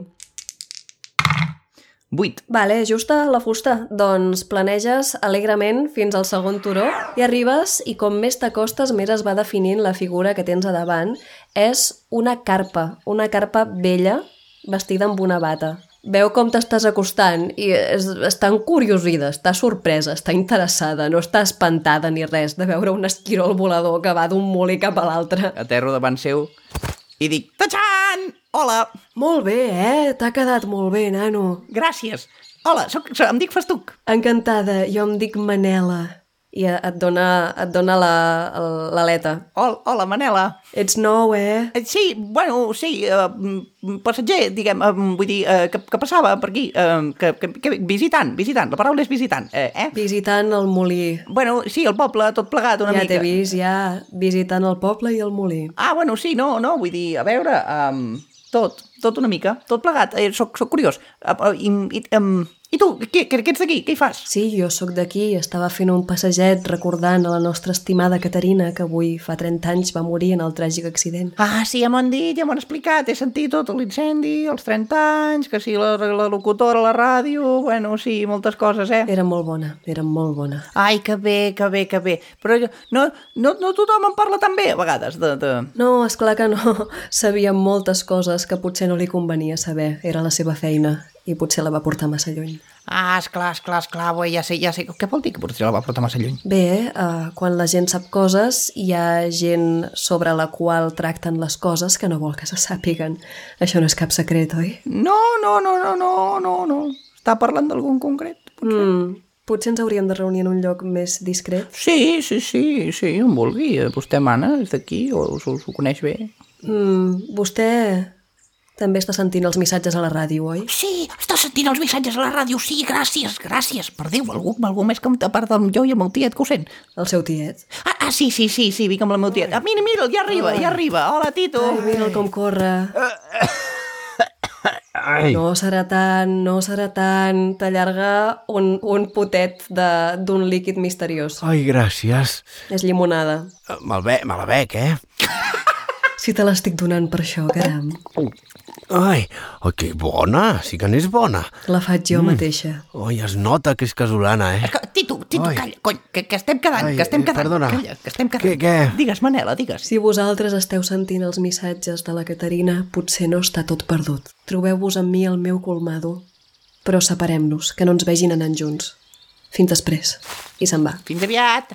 J: 8.
A: Vale, justa la fusta. Doncs planeges alegrement fins al segon turó i arribes i com més t'acostes més es va definint la figura que tens a davant. És una carpa, una carpa vella vestida amb una bata. Veu com t'estàs acostant i és, està encuriosida, està sorpresa, està interessada, no està espantada ni res de veure un esquirol volador que va d'un molí cap a l'altre.
J: Aterro davant seu i dic Tachan! Hola!
A: Molt bé, eh? T'ha quedat molt bé, nano.
J: Gràcies! Hola, soc, soc, em dic Festuc.
A: Encantada, jo em dic Manela. I eh, et dona, et dona la- el- l'aleta.
J: Hola, hola Manela.
A: Ets nou, eh?
J: Eh, Sí, bueno, sí, eh, mm, passatger, diguem, eh, mm, vull dir, eh, que, que passava per aquí, eh, que, que, que visitant, visitant, la paraula és visitant, eh? eh?
A: Visitant el molí.
J: Bueno, sí, el poble, tot plegat una
A: ja
J: mica.
A: t'he vist, ja, visitant el poble i el molí.
J: Ah, bueno, sí, no, no, vull dir, a veure, um, tot, tot una mica, tot plegat, eh, soc, soc curiós. Uh, uh, i, i, um, I tu, què, què, què ets d'aquí? Què hi fas?
A: Sí, jo sóc d'aquí, estava fent un passeget recordant a la nostra estimada Caterina, que avui fa 30 anys va morir en el tràgic accident.
J: Ah, sí, ja m'ho han dit, ja m'ho han explicat, he sentit tot l'incendi, els 30 anys, que sí, la, la locutora, la ràdio, bueno, sí, moltes coses, eh?
A: Era molt bona, era molt bona.
J: Ai, que bé, que bé, que bé. Però jo- no, no, no tothom en parla tan bé, a vegades, de... de...
A: No, és clar que no. Sabia moltes coses que potser no li convenia saber. Era la seva feina i potser la va portar massa lluny.
J: Ah, esclar, esclar, esclar, boi, ja sé, ja sé. Què vol dir que potser la va portar massa lluny?
A: Bé, eh, quan la gent sap coses, hi ha gent sobre la qual tracten les coses que no vol que se sàpiguen. Això no és cap secret, oi?
J: No, no, no, no, no, no, no. Està parlant d'algú en concret?
A: Mm, potser ens hauríem de reunir en un lloc més discret.
J: Sí, sí, sí, sí, on vulgui. Eh, Vostè mana, és d'aquí, o us, us ho coneix bé.
A: Mm, vostè també està sentint els missatges a la ràdio, oi?
J: Sí, està sentint els missatges a la ràdio. Sí, gràcies, gràcies. Per Déu, algú, algú més que a part del jo i el meu tiet que ho sent.
A: El seu tiet.
J: Ah, ah, sí, sí, sí, sí, vinc amb el meu tiet. Ah, mira, mira, ja arriba, ja arriba. Hola, Tito.
A: Ai, mira'l com corre.
D: Ai,
A: No serà tant, no serà tant. T'allarga un, un potet de- d'un líquid misteriós.
D: ai gràcies.
A: És llimonada.
D: Eh, Me'l ve, me la bec, eh?
A: Si te l'estic donant per això, caram.
D: Ai, oh, que bona, sí que n'és bona.
A: La faig jo mateixa.
D: Ai, es nota que és casolana, eh?
J: Que- Tito, Tito,
D: Ai.
J: calla, cony, que, que estem quedant,
D: Ai,
J: que estem
D: eh,
J: quedant.
D: perdona.
J: Calla, que estem quedant.
D: Què- què?
J: Digues, Manela, digues.
A: Si vosaltres esteu sentint els missatges de la Caterina, potser no està tot perdut. Trobeu-vos amb mi al meu colmado, però separem-nos, que no ens vegin anant junts. Fins després. I se'n va.
J: Fins aviat.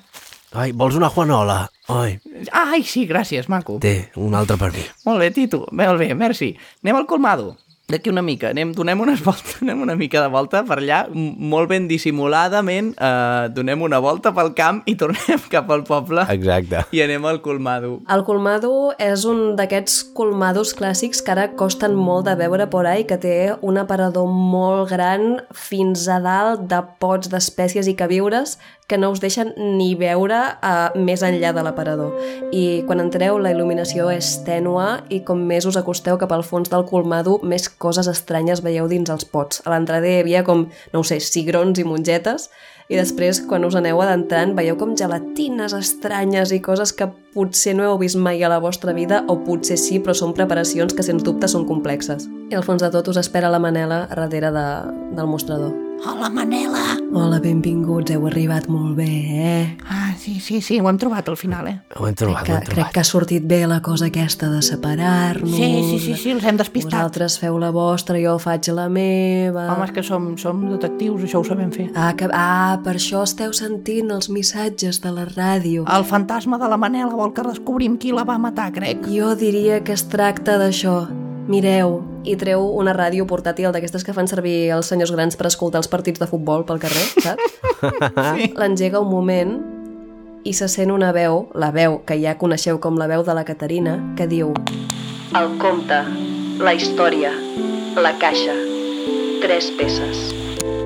D: Ai, vols una Juanola? Ai,
J: Ai, sí, gràcies, maco.
D: té, una altra per mi.
J: Molt bé, Tito, molt bé, merci. Anem al colmado. D'aquí una mica, anem, donem, unes voltes, anem una mica de volta per allà, m- molt ben dissimuladament, eh, donem una volta pel camp i tornem cap al poble
D: Exacte.
J: i anem al colmado.
A: El colmado és un d'aquests colmados clàssics que ara costen molt de veure por ahí, que té un aparador molt gran fins a dalt de pots d'espècies i queviures que no us deixen ni veure eh, més enllà de l'aparador. I quan entreu la il·luminació és tènua i com més us acosteu cap al fons del colmado, més coses estranyes veieu dins els pots. A l'entrada hi havia com, no ho sé, cigrons i mongetes, i després, quan us aneu adentrant, veieu com gelatines estranyes i coses que potser no heu vist mai a la vostra vida, o potser sí, però són preparacions que, sens dubte, són complexes. I al fons de tot us espera la Manela a darrere de, del mostrador.
J: Hola, Manela.
A: Hola, benvinguts, heu arribat molt bé, eh?
J: Ah, sí, sí, sí, ho hem trobat al final, eh?
D: Ho hem trobat,
A: Que,
D: ho hem
A: crec
D: trobat.
A: que ha sortit bé la cosa aquesta de separar-nos.
J: Sí, sí, sí, sí, els hem despistat.
A: Vosaltres feu la vostra, jo faig la meva.
J: Home, és que som, som detectius, això ho sabem fer.
A: Ah, que... ah, per això esteu sentint els missatges de la ràdio.
J: El fantasma de la Manela vol que descobrim qui la va matar, crec.
A: Jo diria que es tracta d'això. Mireu, i treu una ràdio portàtil d'aquestes que fan servir els senyors grans per escoltar els partits de futbol pel carrer, saps?
J: Sí.
A: L'engega un moment i se sent una veu, la veu que ja coneixeu com la veu de la Caterina, que diu
B: El conte, la història, la caixa. Tres peces.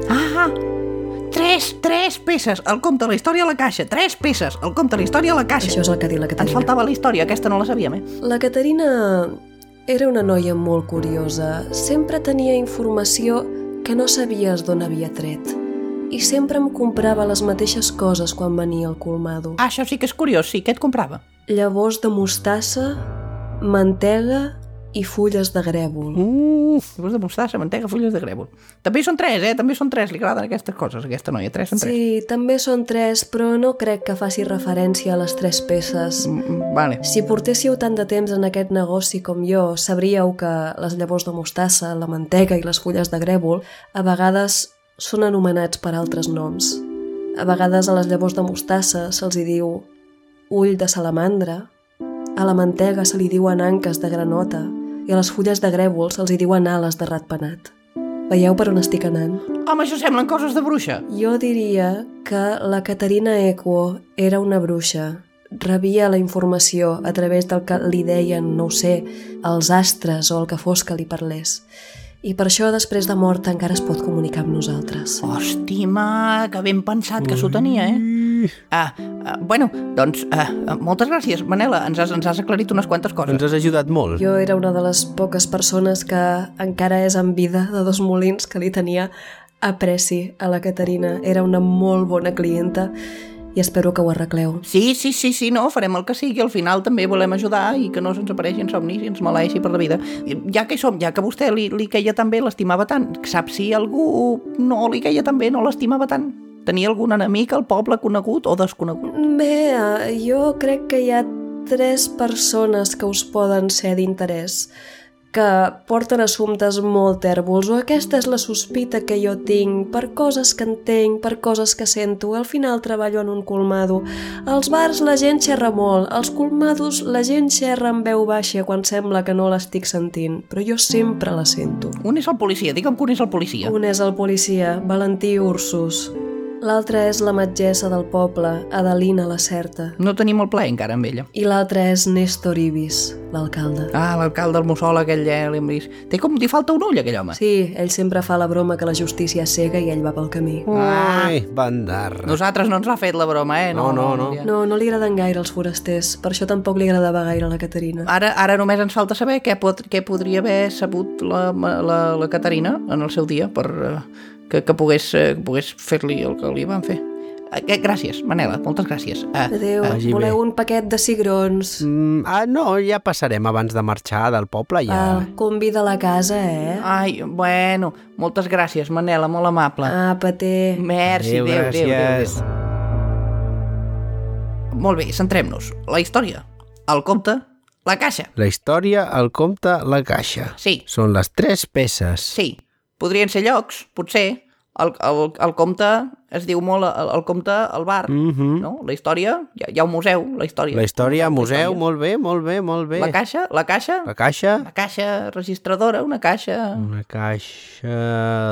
J: Ah! Tres, tres peces! El compte, la història, la caixa. Tres peces! El compte, la història, la caixa.
A: Això és el que ha dit la
J: Ens
A: Caterina.
J: faltava la història, aquesta no la sabíem, eh?
A: La Caterina era una noia molt curiosa. Sempre tenia informació que no sabies d'on havia tret. I sempre em comprava les mateixes coses quan venia al colmado.
J: Ah, això sí que és curiós, sí, què et comprava?
A: llavors de mostassa, mantega i fulles de grèvol.
J: Uf! Llavors de mostassa, mantega, fulles de grèvol. També hi són tres, eh? També hi són tres, li agraden aquestes coses, aquesta noia. Tres en tres.
A: Sí, també són tres, però no crec que faci referència a les tres peces.
J: Mm, mm, Vale.
A: Si portéssiu tant de temps en aquest negoci com jo, sabríeu que les llavors de mostassa, la mantega i les fulles de grèvol a vegades són anomenats per altres noms. A vegades a les llavors de mostassa se'ls hi diu ull de salamandra, a la mantega se li diuen anques de granota i a les fulles de grèvol se'ls hi diuen ales de ratpenat. Veieu per on estic anant?
J: Home, això semblen coses de bruixa.
A: Jo diria que la Caterina Equo era una bruixa. Rebia la informació a través del que li deien, no ho sé, els astres o el que fos que li parlés. I per això, després de morta, encara es pot comunicar amb nosaltres.
J: Hòstima, que ben pensat que s'ho tenia, eh? Ah, ah, bueno, doncs, ah, ah, moltes gràcies, Manela. Ens has, ens has aclarit unes quantes coses.
D: Ens has ajudat molt.
A: Jo era una de les poques persones que encara és en vida de dos molins que li tenia apreci a la Caterina. Era una molt bona clienta i espero que ho arregleu.
J: Sí, sí, sí, sí, no, farem el que sigui. Al final també volem ajudar i que no se'ns apareixin somnis i ens maleeixi per la vida. I Ja que hi som, ja que a vostè li, li queia tan bé, l'estimava tant, sap si algú no li queia tan bé, no l'estimava tant? Tenia algun enemic al poble conegut o desconegut?
A: Bé, eh, jo crec que hi ha tres persones que us poden ser d'interès que porten assumptes molt tèrbols o aquesta és la sospita que jo tinc per coses que entenc, per coses que sento al final treballo en un colmado als bars la gent xerra molt als colmados la gent xerra en veu baixa quan sembla que no l'estic sentint però jo sempre la sento
J: Un és el policia, digue'm que un és el policia.
A: un és el policia, Valentí Ursus. L'altre és la metgessa del poble, Adelina la Certa.
J: No tenim el plaer encara amb ella.
A: I l'altre és Néstor Ibis, l'alcalde.
J: Ah, l'alcalde del Mussol, aquell, eh, l'hem vist. Té com... Li falta un ull, aquell home.
A: Sí, ell sempre fa la broma que la justícia és cega i ell va pel camí.
C: Ah.
D: Ai, bandarra.
J: Nosaltres no ens l'ha fet la broma, eh?
D: No, no, no.
A: No, no li agraden gaire els forasters, per això tampoc li agradava gaire la Caterina.
J: Ara, ara només ens falta saber què, pot, què podria haver sabut la, la, la Caterina en el seu dia per, eh, que, que pogués, eh, que pogués fer-li el que li van fer. Eh, que- Gràcies, Manela, moltes gràcies. Ah,
A: Adéu,
D: vagi bé.
A: voleu un paquet de cigrons?
D: Mm, ah, no, ja passarem abans de marxar del poble, ja.
A: Ah, convida a la casa, eh?
J: ai, bueno, moltes gràcies, Manela, molt amable.
A: Ah, paté.
J: Merci, adéu, adéu, adéu, adéu.
D: gràcies.
J: Molt bé, centrem-nos. La història, el conte, la caixa.
D: La història, el compte, la caixa.
J: Sí.
D: Són les tres peces.
J: Sí, podrien ser llocs, potser. El, el, el compte es diu molt el, el compte al bar, mm -hmm. no? La història, hi ha, hi ha un museu, la història.
D: Mhm. La història, museu,
J: història.
D: molt bé, molt bé, molt bé.
J: La caixa, la caixa,
D: La caixa,
J: la caixa registradora, una caixa...
D: una caixa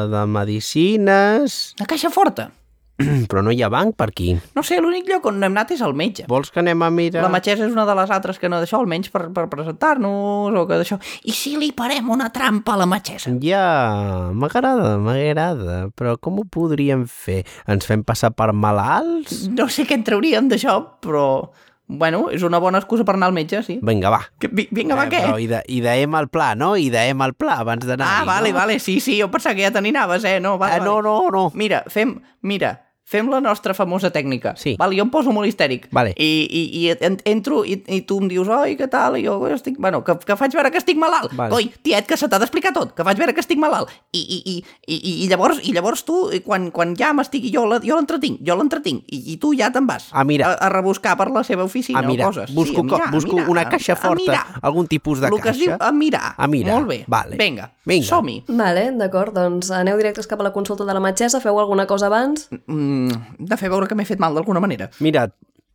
D: de medicines,
J: Una caixa forta.
D: però no hi ha banc per aquí.
J: No sé, l'únic lloc on hem anat és el metge.
D: Vols que anem a mirar?
J: La metgessa és una de les altres que no d'això, almenys per, per presentar-nos o que d'això. I si li parem una trampa a la metgessa?
D: Ja, m'agrada, m'agrada, però com ho podríem fer? Ens fem passar per malalts?
J: No sé què en trauríem d'això, però... Bueno, és una bona excusa per anar al metge, sí.
D: Vinga, va.
J: Que, vi- vinga, va,
D: Eh,
J: què?
D: Però i de, i deem el pla, no? I deem el pla abans d'anar.
J: Ah, vale,
D: no?
J: vale, sí, sí, jo pensava que ja te n'hi anaves, eh? No, vale,
D: Ah, no,
J: vale.
D: no, no.
J: Mira, fem... Mira, fem la nostra famosa tècnica.
D: Sí.
J: Val, jo em poso molt histèric.
D: Vale.
J: I, i, i en- entro i, i tu em dius, oi, què tal? I jo "Oi, estic... Bueno, que, que faig veure que estic malalt.
D: Vale.
J: Coi, tiet, que se t'ha d'explicar tot, que faig veure que estic malalt. I, i, i, i, i llavors, i llavors tu, i quan, quan ja m'estigui, jo la- jo l'entretinc, jo l'entretinc, i, i tu ja te'n vas
D: A mirar.
J: a, a rebuscar per la seva oficina
D: a mirar,
J: o coses.
D: Ah, busco,
J: sí, a
D: co-
J: mirar, a
D: busco
J: mirar,
D: una
J: a-
D: caixa
J: a
D: forta,
J: mirar.
D: algun tipus de
J: Lo que
D: caixa.
J: es diu ah. a mirar.
D: A mirar.
J: Molt bé.
D: Vale.
J: Vinga,
D: Vinga.
J: som-hi.
A: Vale, d'acord, doncs aneu directes cap a la consulta de la metgessa, feu alguna cosa abans.
J: Mm, de fer veure que m'he fet mal d'alguna manera.
D: Mira,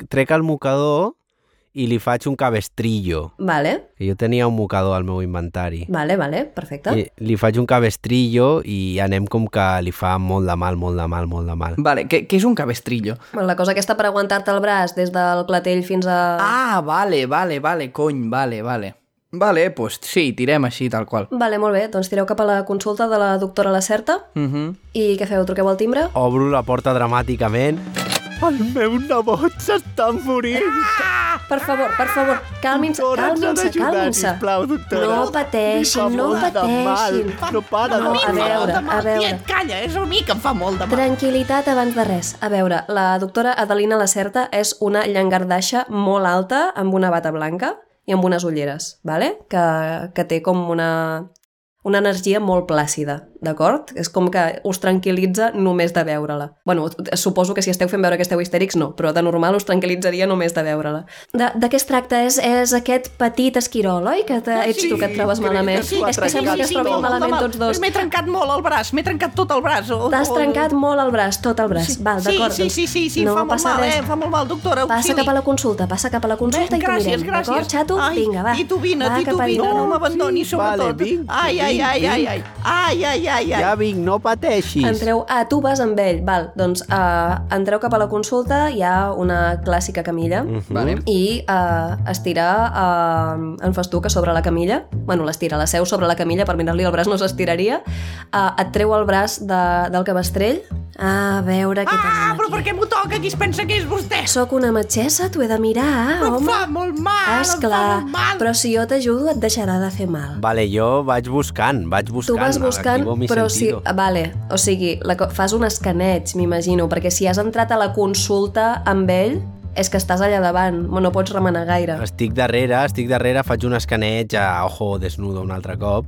D: trec el mocador i li faig un cabestrillo.
A: Vale,
D: Que jo tenia un mocador al meu inventari.
A: vale, vale, perfecte.
D: I li faig un cabestrillo i anem com que li fa molt de mal, molt de mal, molt de mal.
J: Vale, que, que és un cabestrillo.
A: Bueno, la cosa aquesta per aguantar-te el braç des del clatell fins a...
J: Ah, vale, vale, vale, cony, vale, vale. Vale, pues sí, tirem així, tal qual.
A: Vale, molt bé, doncs tireu cap a la consulta de la doctora Lacerta.
J: Uh -huh.
A: I què feu? Truqueu al timbre?
D: Obro la porta dramàticament. El meu nebot s'està morint.
A: Per favor, per favor, calmin-se, calmin-se, calmin-se. No pateixin, no pateixin.
D: No para
A: No, a veure, a veure.
J: calla, és a mi que em fa molt de
A: Tranquilitat abans de res. A veure, la doctora Adelina Lacerta és una llangardaxa molt alta amb una bata blanca i amb unes ulleres, vale? que, que té com una, una energia molt plàcida, d'acord? És com que us tranquil·litza només de veure-la. bueno, suposo que si esteu fent veure que esteu histèrics, no, però de normal us tranquil·litzaria només de veure-la.
K: De, de què es tracta? És, és aquest petit esquirol, oi? Que
J: Ah,
K: te,
A: Ets tu que et trobes malament. És que sembla que es trobin malament tots dos.
J: M'he trencat molt el braç, m'he trencat tot el braç. o-
A: T'has
J: o-
A: trencat molt el braç, tot el braç. Val,
J: Oh, Sí,
A: d'acord.
J: sí,
A: doncs
J: sí, sí, sí,
A: no
J: no, fa molt
A: passa
J: mal,
A: res.
J: eh? Fa molt mal, doctora,
A: Passa
J: auxili.
A: cap a la consulta, passa cap a la consulta i t'ho
J: gràcies,
A: mirem,
J: gràcies.
A: d'acord, xato?
J: Ai,
A: Vinga, va.
J: I tu vine,
A: va,
J: i tu
A: cap a
J: vine,
A: dintre.
J: no, m'abandonis,
D: sí,
J: sobretot.
D: vale, vinc,
J: ai, ai,
D: vinc,
J: ai, ai,
D: vinc.
J: ai, ai, ai, ai, ai.
D: Ja vinc, no pateixis.
A: Entreu, ah, tu vas amb ell, val, doncs uh, entreu cap a la consulta, hi ha una clàssica camilla
J: Vale.
A: i uh, estira uh, en festuca sobre la camilla, bueno, l'estira, la seu sobre la camilla per mirar-li el braç no s'estiraria, uh, et treu el braç de, del cabestrell, a veure què
J: Ah,
A: tenim
J: però per
A: aquí.
J: què m'ho toca? Qui es pensa que és vostè?
A: Sóc una metgessa, t'ho he de mirar,
J: Em
A: home.
J: fa molt mal,
A: Esclar,
J: em fa molt mal.
A: però si jo t'ajudo et deixarà de fer mal.
D: Vale, jo vaig buscant, vaig buscant.
A: Tu vas buscant,
D: activo mi
A: però si...
D: sentido.
A: Vale, o sigui, la, co- fas un escaneig, m'imagino, perquè si has entrat a la consulta amb ell, és que estàs allà davant, no pots remenar gaire.
D: Estic darrere, estic darrere, faig un escaneig a ojo desnudo un altre cop.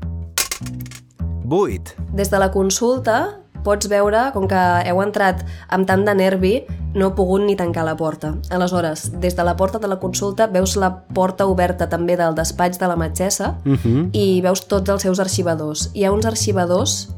D: 8.
A: Des de la consulta pots veure, com que heu entrat amb tant de nervi, no heu pogut ni tancar la porta. Aleshores, des de la porta de la consulta veus la porta oberta també del despatx de la metgessa uh -huh. i veus tots els seus arxivadors. Hi ha uns arxivadors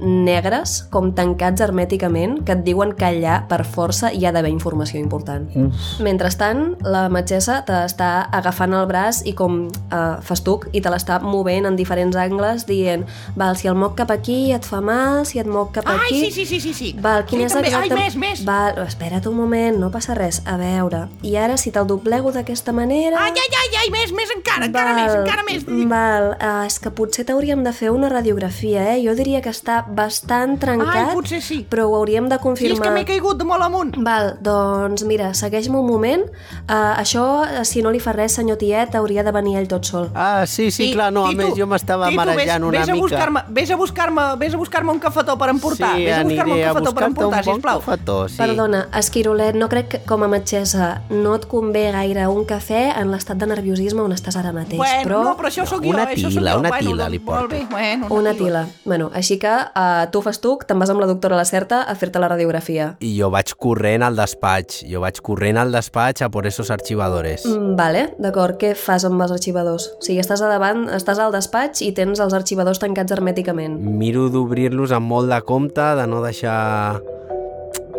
A: negres, com tancats hermèticament, que et diuen que allà, per força, hi ha d'haver informació important. Mentrestant, la metgessa t'està agafant el braç i com eh, festuc i te l'està movent en diferents angles dient, val, si el moc cap aquí et fa mal, si et moc cap
J: Ai,
A: aquí...
J: sí, sí, sí, sí, sí.
A: Val, quin
J: Sí,
A: és
J: també.
A: exacte...
J: Ai, més, més.
A: Val, espera't un moment, no passa res. A veure, i ara si te'l doblego d'aquesta manera...
J: Ai, ai, ai, ai, més, més, encara, encara més, encara més.
A: Val, uh, és que potser t'hauríem de fer una radiografia, eh? Jo diria que està bastant trencat,
J: Ai, potser sí.
A: però ho hauríem de
J: Sí,
A: confirmar.
J: és que m'he caigut de molt amunt.
A: Val, doncs mira, segueix-me un moment. Uh, això, eh, si no li fa res, senyor Tiet, hauria de venir ell tot sol.
D: Ah, sí, sí, clar, no, a
J: Tito,
D: més jo m'estava
J: Tito,
D: marejant
J: vés,
D: una
J: vés a
D: mica.
J: buscar-me- Vés a buscar-me vés a buscar un cafetó per emportar.
D: Sí,
J: vés a buscar-me un
D: aniré a
J: cafetó per
D: buscar-te
J: emportar,
D: un bon
J: sisplau.
D: cafetó, sí.
A: Perdona, Esquirolet, no crec que com a metgessa no et convé gaire un cafè en l'estat de nerviosisme on estàs ara mateix,
J: Bueno,
A: però...
J: no, però això sóc jo,
D: Una
J: això sóc
D: tila,
J: jo.
D: una
J: bueno,
D: tila
J: doncs,
D: li
J: molt
D: porto.
J: bé, bueno,
A: Una tila. Bueno, així que uh, tu fas tu, te'n vas amb la doctora Lacerta a fer-te la radiografia.
D: I jo vaig corrent al despatx, jo vaig corrent al despatx a por esos archivadores.
A: Mm, Vale, d'acord. Què fas amb els arxivadors? O sigui, estàs a davant, estàs al despatx i tens els arxivadors tancats hermèticament.
J: Mm.
D: Miro d'obrir-los amb molt de compte, de no deixar...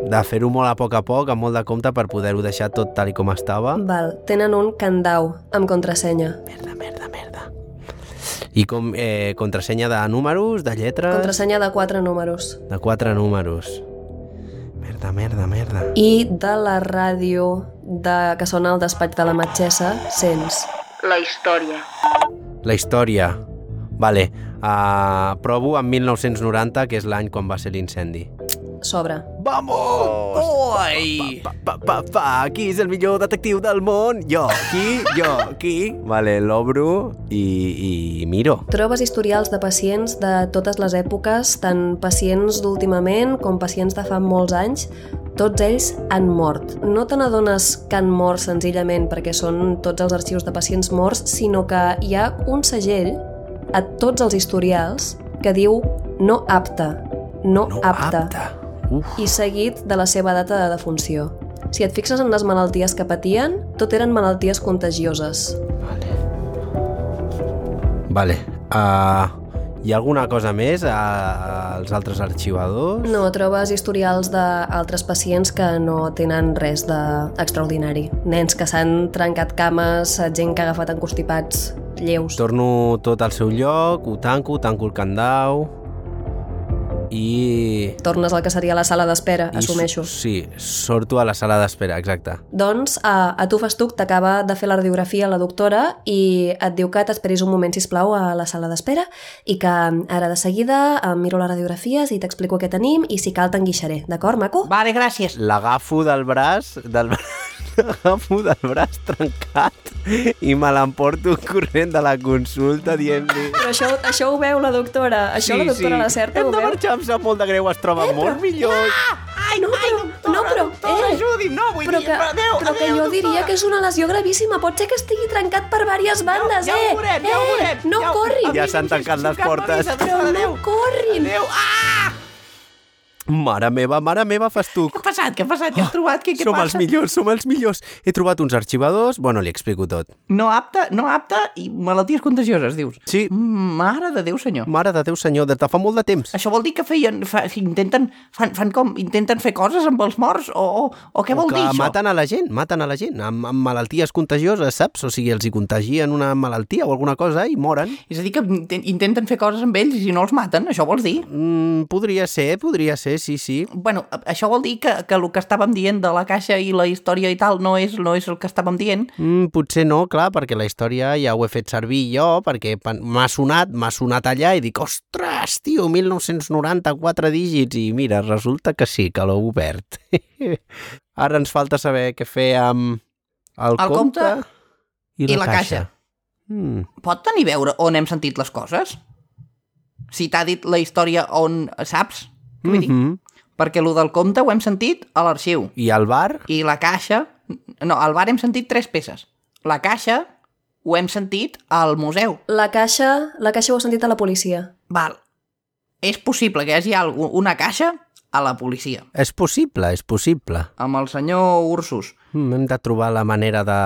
D: de fer-ho molt a poc a poc, amb molt de compte per poder-ho deixar tot tal i com estava.
A: Val, tenen un candau amb contrasenya.
D: Merda, merda, merda. I com eh, contrasenya de números, de lletres...
A: Contrasenya de quatre números.
D: De quatre números. Merda, merda, merda.
A: i de la ràdio de, que sona al despatx de la metgessa sents.
B: La història.
D: La història. eh, Vale, uh, provo amb 1990, que és l'any quan va ser l'incendi.
A: s'obre.
D: Vamos!
J: Oi!
D: Pa, pa, pa, pa, qui és el millor detectiu del món? Jo, aquí, jo, aquí. Vale, l'obro i, i miro.
A: Trobes historials de pacients de totes les èpoques, tant pacients d'últimament com pacients de fa molts anys, tots ells han mort. No te n'adones que han mort senzillament perquè són tots els arxius de pacients morts, sinó que hi ha un segell a tots els historials que diu no apte, no,
D: No
A: apte,
D: apte. Uf.
A: i seguit de la seva data de defunció. Si et fixes en les malalties que patien, tot eren malalties contagioses.
D: Vale. Uh, hi ha alguna cosa més a- als altres arxivadors?
A: No, trobes historials d'altres pacients que no tenen res d'extraordinari. Nens que s'han trencat cames, gent que ha agafat enconstipats lleus.
D: Torno tot al seu lloc, ho tanco, tanco el candau i...
A: Tornes al que seria la sala d'espera,
D: i
A: assumeixo.
D: so- Sí, sorto a la sala d'espera, exacte.
A: Doncs a, a tu festuc t'acaba de fer la radiografia la doctora i et diu que t'esperis un moment, si plau a la sala d'espera i que mm, ara de seguida em miro les radiografies i t'explico què tenim i si cal t'enguixaré, d'acord, maco?
J: Vale, gràcies.
D: L'agafo del braç, del braç l'agafo del braç trencat i me l'emporto corrent de la consulta dient-li...
A: Però això, això ho veu la doctora, això la doctora la certa
D: Hem
A: ho
D: de
A: veu.
D: marxar, em sap molt de greu, es troba molt millor.
A: Ah! Ai, no, però, no, però, eh,
J: ajudi'm, no, vull
A: però
J: dir,
A: que,
J: però
A: però
J: adéu,
A: que
J: adéu,
A: jo
J: doctora.
A: diria que és una lesió gravíssima. Pot ser que estigui trencat per diverses bandes,
J: ja ho
A: eh?
J: veurem,
A: eh,
J: ja ho veurem,
A: No
J: ja ho-
A: corrin,
D: Ja s'han tancat les portes.
A: però no corrin.
J: Adéu. Ah!
D: Mare meva, mare meva, fas tu.
J: Què ha passat? Què ha passat? Què has trobat? Què, què
D: som els
J: passa?
D: millors, som els millors. He trobat uns arxivadors, bueno, li explico tot.
J: No apte, no apte i malalties contagioses, dius.
D: Sí.
J: Mare de Déu, senyor.
D: Mare de Déu senyor, des de fa molt de temps.
J: Això vol dir que feien, fa, intenten, fan, fan com, intenten fer coses amb els morts o, o, o què vol
D: que
J: dir això?
D: maten a la gent, maten a la gent, amb, amb malalties contagioses, saps? O sigui, els hi contagien una malaltia o alguna cosa i moren.
J: És a dir, que inten- intenten fer coses amb ells i si no els maten, això vols dir?
D: Mm, podria ser, podria ser, sí, sí.
J: Bueno, això vol dir que, que el que estàvem dient de la caixa i la història i tal no és, no és el que estàvem dient.
D: Mm, potser no, clar, perquè la història ja ho he fet servir jo, perquè pan- m'ha sonat, m'ha sonat allà i dic, ostres, tio, 1994 dígits, i mira, resulta que sí, que l'ho obert. Ara ens falta saber què fer amb el,
J: El compte
D: i la, caixa. Mm.
J: Pot tenir a veure on hem sentit les coses? Si t'ha dit la història on saps? Què vull dir?
D: Mhm.
J: Perquè lo del compte ho hem sentit a l'arxiu.
D: I al bar?
J: I la caixa... No, al bar hem sentit tres peces. La caixa ho hem sentit al museu.
A: La caixa, la caixa ho ha sentit a la policia.
J: Val. És possible que hi hagi algú, una caixa a la policia.
D: És possible, és possible.
J: Amb el senyor Ursus.
D: Mm, hem de trobar la manera de...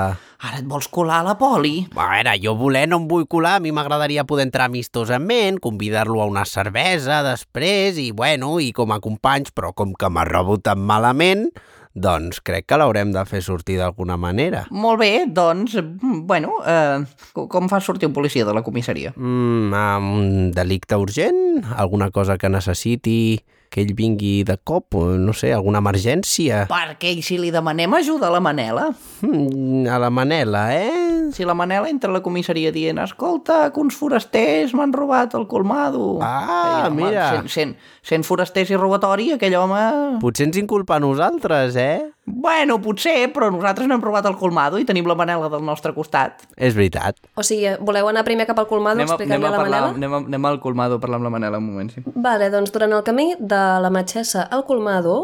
J: Ara et vols colar a la poli?
D: A veure, jo voler no em vull colar, a mi m'agradaria poder entrar amistosament, convidar-lo a una cervesa després i, bueno, i com a companys, però com que m'ha rebut tan malament, doncs crec que l'haurem de fer sortir d'alguna manera.
J: Molt bé, doncs, mm, bueno, eh, co- com fa sortir un policia de la comissaria?
D: Mm, amb un delicte urgent, alguna cosa que necessiti, que ell vingui de cop, o no sé, alguna emergència.
J: Perquè i si li demanem ajuda a la Manela?
D: Mm, a la Manela, eh?
J: Si la Manela entra a la comissaria dient escolta, que uns forasters m'han robat el colmado.
D: Ah,
J: home,
D: mira.
J: Sent, sent, sent forasters i robatori, aquell home...
D: Potser ens inculpa a nosaltres, eh?
J: Bueno, potser, però nosaltres no hem robat el colmado i tenim la Manela del nostre costat.
D: És veritat.
A: O sigui, voleu anar primer cap al colmado a explicar-li a la Manela?
J: anem, a, anem al colmado a parlar amb la Manela un moment, sí.
A: Vale, doncs durant el camí de la Matxessa al Colmado,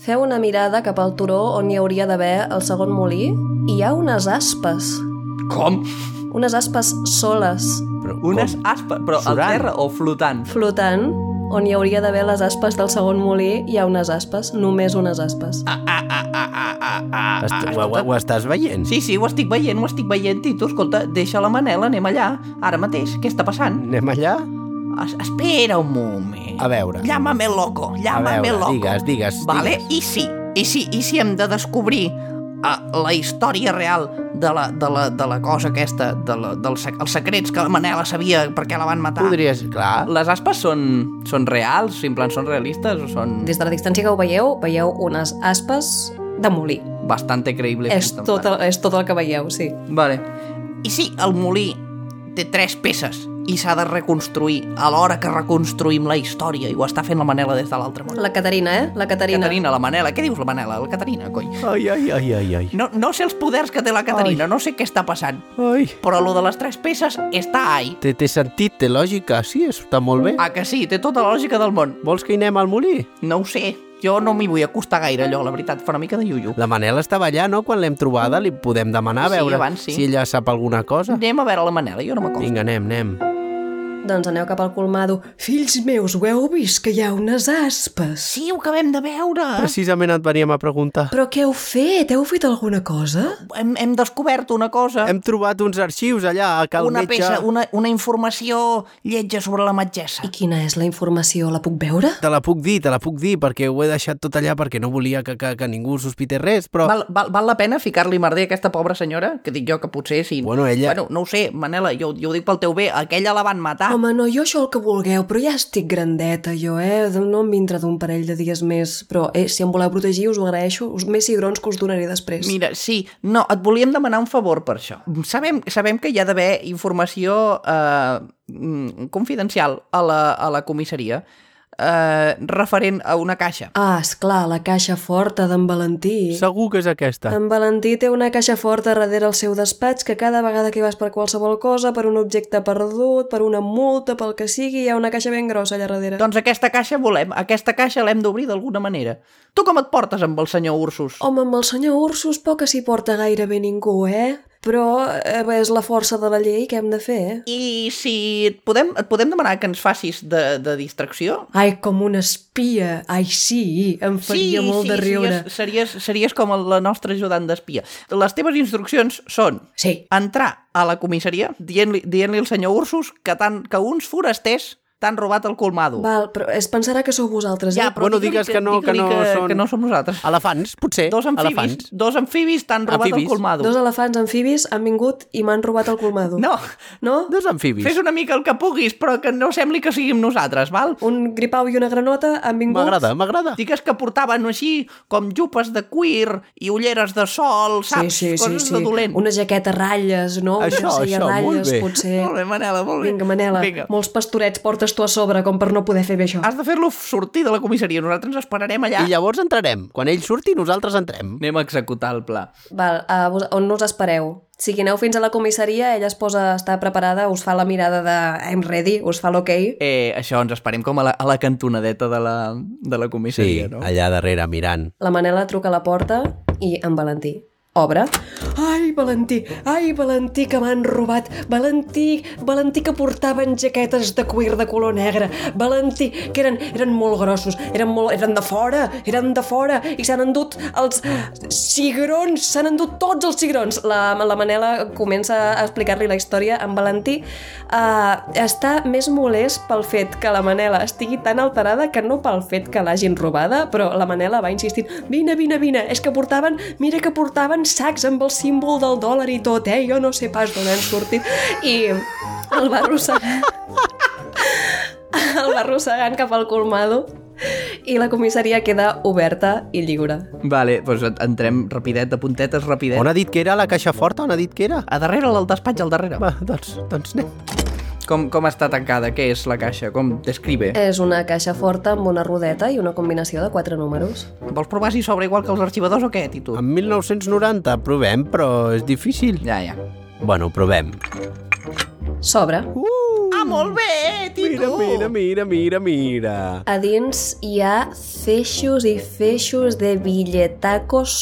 A: feu una mirada cap al turó on hi hauria d'haver el segon molí i hi ha unes aspes,
J: Com?
A: unes aspes soles,
D: Però
J: Unes
D: com?
J: aspes, però
D: Surant.
J: a terra o flotant?
A: flotant, on hi hauria d'haver les aspes del segon molí, hi ha unes aspes, només unes aspes. Ah,
D: Est- ho, ho, ho estàs veient?
J: Ah, Sí, sí, ho estic veient, ho estic veient, i tu, escolta, deixa la Manela, anem allà, ara mateix, què està passant?
D: Anem allà?
J: Es espera un moment.
D: A veure.
J: Llámame loco, llámame
D: veure,
J: loco.
D: digues, digues,
J: Vale,
D: digues.
J: i si, i si, i si hem de descobrir uh, la història real de la, de la, de la cosa aquesta, de la, del, sec- els secrets que la Manela sabia perquè la van matar.
D: Podries, clar.
J: Les aspes són, són reals, en plan, són realistes o són
A: Des de la distància que ho veieu, veieu unes aspes de molí.
J: bastante creïbles?
A: És tot, el, és tot el que veieu, sí.
J: Vale. I sí, el molí té tres peces i s'ha de reconstruir a l'hora que reconstruïm la història i ho està fent la Manela des de l'altre món.
A: La Caterina, eh? La Caterina.
J: Caterina, la Manela. Què dius, la Manela? La Caterina, coi.
D: Ai, ai, ai, ai, ai.
J: No, no sé els poders que té la Caterina, no sé què està passant,
D: Ai.
J: però lo de les tres peces està ahí.
D: Té, té sentit, té lògica, sí, està molt bé.
J: Ah, que sí, té tota la lògica del món.
D: Vols que hi anem al molí?
J: No ho sé, jo no m'hi vull acostar gaire, allò, la veritat, fa una mica de iuiu.
D: La Manela estava allà, no? Quan l'hem trobada, li podem demanar a
J: Sí,
D: veure
J: abans sí.
D: si ella sap alguna cosa.
J: Anem a veure la Manela, jo no m'acosto.
D: Vinga, anem, anem.
A: Doncs aneu cap al colmado. Fills meus, ho heu vist, que hi ha unes aspes?
J: Sí, ho acabem de veure.
D: Precisament et veníem a preguntar.
A: Però què heu fet? Heu fet alguna cosa?
J: Hem, hem descobert una cosa.
D: Hem trobat uns arxius allà, a Cal
J: Ah. una
D: Metge.
J: peça, una, una informació lletja sobre la metgessa.
A: I quina és la informació? La puc veure?
D: Te la puc dir, te la puc dir, perquè ho he deixat tot allà perquè no volia que, que, que ningú sospités res, però...
J: Val, val, val la pena ficar-li merder a aquesta pobra senyora? Que dic jo que potser si...
D: Bueno, ella-
J: Bueno, no ho sé, Manela, jo, jo ho dic pel teu bé. Aquella la van matar.
A: Home, no, jo això el que vulgueu, però ja estic grandeta, jo, eh? No em vindrà d'un parell de dies més. Però, eh, si em voleu protegir, us ho agraeixo. Us més cigrons que us donaré després.
J: Mira, sí, no, et volíem demanar un favor per això. Sabem, sabem que hi ha d'haver informació eh, mm, confidencial a la, a la comissaria eh, referent a una caixa.
A: Ah, esclar, la caixa forta d'en Valentí.
D: Segur que és aquesta.
A: En Valentí té una caixa forta darrere el seu despatx que cada vegada que vas per qualsevol cosa, per un objecte perdut, per una multa, pel que sigui, hi ha una caixa ben grossa allà darrere.
J: Doncs aquesta caixa volem, aquesta caixa l'hem d'obrir d'alguna manera. Tu com et portes amb el senyor Ursus?
A: Home, amb el senyor Ursus poc que s'hi porta gairebé ningú, eh? Però eh, bé, és la força de la llei que hem de fer, eh?
J: I si et podem, et podem demanar que ens facis de, de distracció?
A: Ai, com un espia. Ai, sí, em faria molt de riure.
J: Series, series, series com la nostra ajudant d'espia. Les teves instruccions són
A: Sí.
J: entrar a la comissaria dient-li dient al senyor Ursus que, tan, que uns forasters t'han robat el colmado.
A: Val, però es pensarà que sou vosaltres, eh?
D: Bueno,
J: digue-li
D: digues que no- que
J: digue-li
D: no
J: que,
D: són-
J: que no som nosaltres.
D: Elefants, potser.
J: Dos amfibis,
D: Elefants.
J: dos amfibis t'han robat
D: Amfibis.
J: el colmado.
A: Dos elefants amfibis han vingut i m'han robat el colmado.
J: No,
A: No?
D: Dos amfibis.
J: fes una mica el que puguis, però que no sembli que siguin nosaltres, val?
A: Un gripau i una granota han vingut...
D: M'agrada, m'agrada.
J: Digues que portaven així com jupes de cuir i ulleres de sol, saps? Coses de dolent.
A: Una jaqueta a ratlles, no? Una
D: Això,
A: jersei a
D: això, molt
A: ratlles,
D: bé.
A: potser.
J: Molt bé, Manela, molt bé.
A: Vinga, Manela,
J: Vinga.
A: molts pastorets portes tu a sobre com per no poder fer bé això.
J: Has de fer-lo sortir de la comissaria. Nosaltres ens esperarem allà.
D: I llavors entrarem. Quan ell surti, nosaltres entrem.
J: Anem a executar el pla.
A: Val, a vos, on us espereu? Si aneu fins a la comissaria, ella es posa, està preparada, us fa la mirada de I'm ready, us fa l'ok. Okay.
J: Eh, això, ens esperem com a la, a la cantonadeta de la, de la comissaria, no?
D: allà darrere, mirant.
A: La Manela truca a la porta i en Valentí obre. Ai, Valentí, ai, Valentí, que m'han robat. Valentí, Valentí, que portaven jaquetes de cuir de color negre. Valentí, que eren, eren molt grossos, eren, molt, eren de fora, eren de fora, i s'han endut els cigrons, s'han endut tots els cigrons. La, la Manela comença a explicar-li la història. En Valentí eh, està més molest pel fet que la Manela estigui tan alterada que no pel fet que l'hagin robada, però la Manela va insistint, vine, vine, vine, és que portaven, mira que portaven sacs amb el símbol del dòlar i tot, eh? Jo no sé pas d'on han sortit. I el va arrossegar... el va arrossegant cap al colmado i la comissaria queda oberta i lliure.
J: Vale, doncs en- entrem rapidet, de puntetes, rapidet.
D: On ha dit que era la caixa forta? On ha dit que era?
J: A darrere, al despatx, al darrere.
D: Va, doncs, doncs anem.
J: Com, com està tancada? Què és la caixa? Com? Describe.
A: És una caixa forta amb una rodeta i una combinació de quatre números.
J: Vols provar si s'obre igual que els arxivadors o què, Tito?
D: En 1990 provem, però és difícil.
J: Ja, ja.
D: Bueno, provem.
A: Sobre.
J: Ah, molt bé,
D: Mira,
J: Tito!
D: Uh! mira, mira, mira, mira.
A: A dins hi ha feixos i feixos de billetacos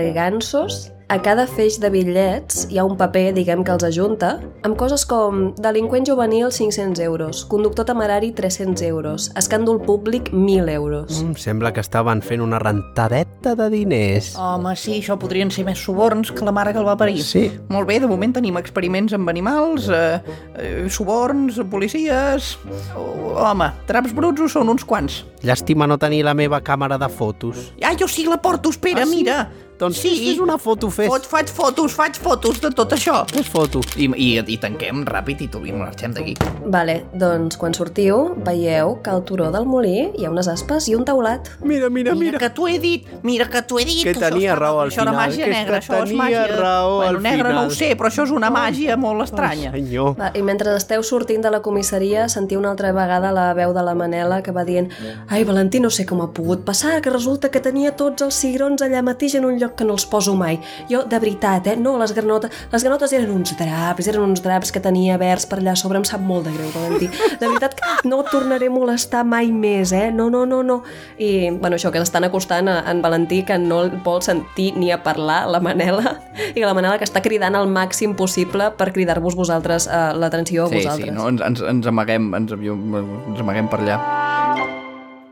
A: supergansos. A cada feix de bitllets hi ha un paper, diguem, que els ajunta, amb coses com delinqüent juvenil 500 euros, conductor temerari 300 euros, escàndol públic 1.000 euros.
D: Em Mm, sembla que estaven fent una rentadeta de diners.
J: Home, sí, això podrien ser més suborns que la mare que el va parir.
D: Sí.
J: Molt bé, de moment tenim experiments amb animals, eh, eh, suborns, policies... Oh, home, traps bruts ho són uns quants.
D: Llàstima no tenir la meva càmera de fotos.
J: Ah, jo sí la porto, espera, ah, sí? mira!
D: Doncs sí. és una foto fes.
J: Fot, faig fotos, faig fotos de tot això.
D: Fes foto.
J: I, i, i tanquem ràpid i, tu, i marxem d'aquí.
A: Vale, doncs quan sortiu veieu que al turó del molí hi ha unes aspes i un taulat.
D: Mira, mira,
J: Mira,
D: mira.
J: que t'ho he dit, mira que t'ho he dit.
D: Que
J: això és
D: tenia
J: una-
D: raó al
J: això era
D: final,
J: màgia
D: que
J: negra, això és
D: tenia
J: màgia.
D: raó
J: bueno,
D: al
J: negra no
D: final.
J: ho sé, però això és una màgia molt estranya.
D: Senyor.
A: Va, I mentre esteu sortint de la comissaria sentiu una altra vegada la veu de la Manela que va dient «Ai, Valentí, no sé com ha pogut passar, que resulta que tenia tots els cigrons allà mateix en un lloc que no els poso mai. Jo, de veritat, eh? No, les granotes, les granotes eren uns draps, eren uns draps que tenia verds per allà a sobre, em sap molt de greu, Valentí. De veritat que no et tornaré a molestar mai més, eh? No, no, no, no. I, bueno, això, que l'estan acostant a en Valentí, que no el vol sentir ni a parlar, la Manela, i la Manela que està cridant al màxim possible per cridar-vos vosaltres eh, l'atenció a
J: Sí,
A: vosaltres.
J: sí, no? ens, ens, ens amaguem, ens, avio- ens amaguem per allà.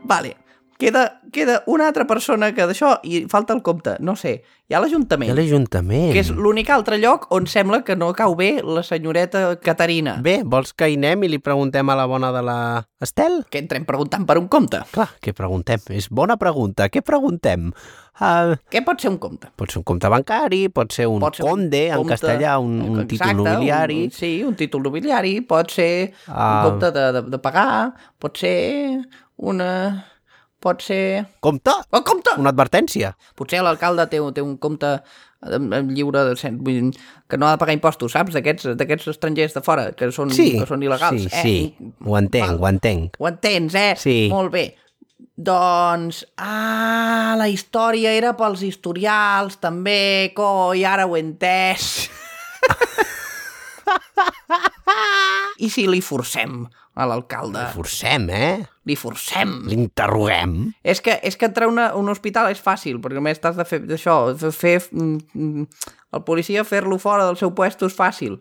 J: Vale, queda, queda una altra persona que d'això, i falta el compte, no sé, hi
D: I a
J: ha l'Ajuntament,
D: l'Ajuntament.
J: que és l'únic altre lloc on sembla que no cau bé la senyoreta Caterina.
D: Bé, vols que hi anem i li preguntem a la bona de la Estel?
J: Que entrem preguntant per un compte.
D: Clar, què preguntem? És bona pregunta. Què preguntem? Uh,
J: Què pot ser un compte?
D: pot ser un compte bancari, pot ser un
J: Pot ser un
D: conde, en
J: compte-
D: castellà, un, un
J: Exacte,
D: títol nobiliari.
J: Un, sí, un títol nobiliari, pot ser
D: Ah.
J: un compte de, de, de pagar, pot ser una... pot ser...
D: Compte!
J: Oh, compte!
D: Una advertència.
J: Potser l'alcalde té, té un compte eh, lliure de cent, vull dir, que no ha de pagar impostos, saps? D'aquests d'aquests estrangers de fora, que són,
D: Sí.
J: que són il·legals.
D: Sí, sí.
J: Eh?
D: Ho entenc, ho entenc.
J: Ho entens, eh?
D: Sí.
J: Molt bé. Doncs, ah, la història era pels historials, també, coi, ara ho he entès. I si li forcem a l'alcalde?
D: Forcem, eh?
J: Li forcem.
D: L'interroguem.
J: És que, és que entrar a una, un hospital és fàcil, perquè a més t'has de fer això, fer, fer mm, mm, el policia fer-lo fora del seu puesto és fàcil,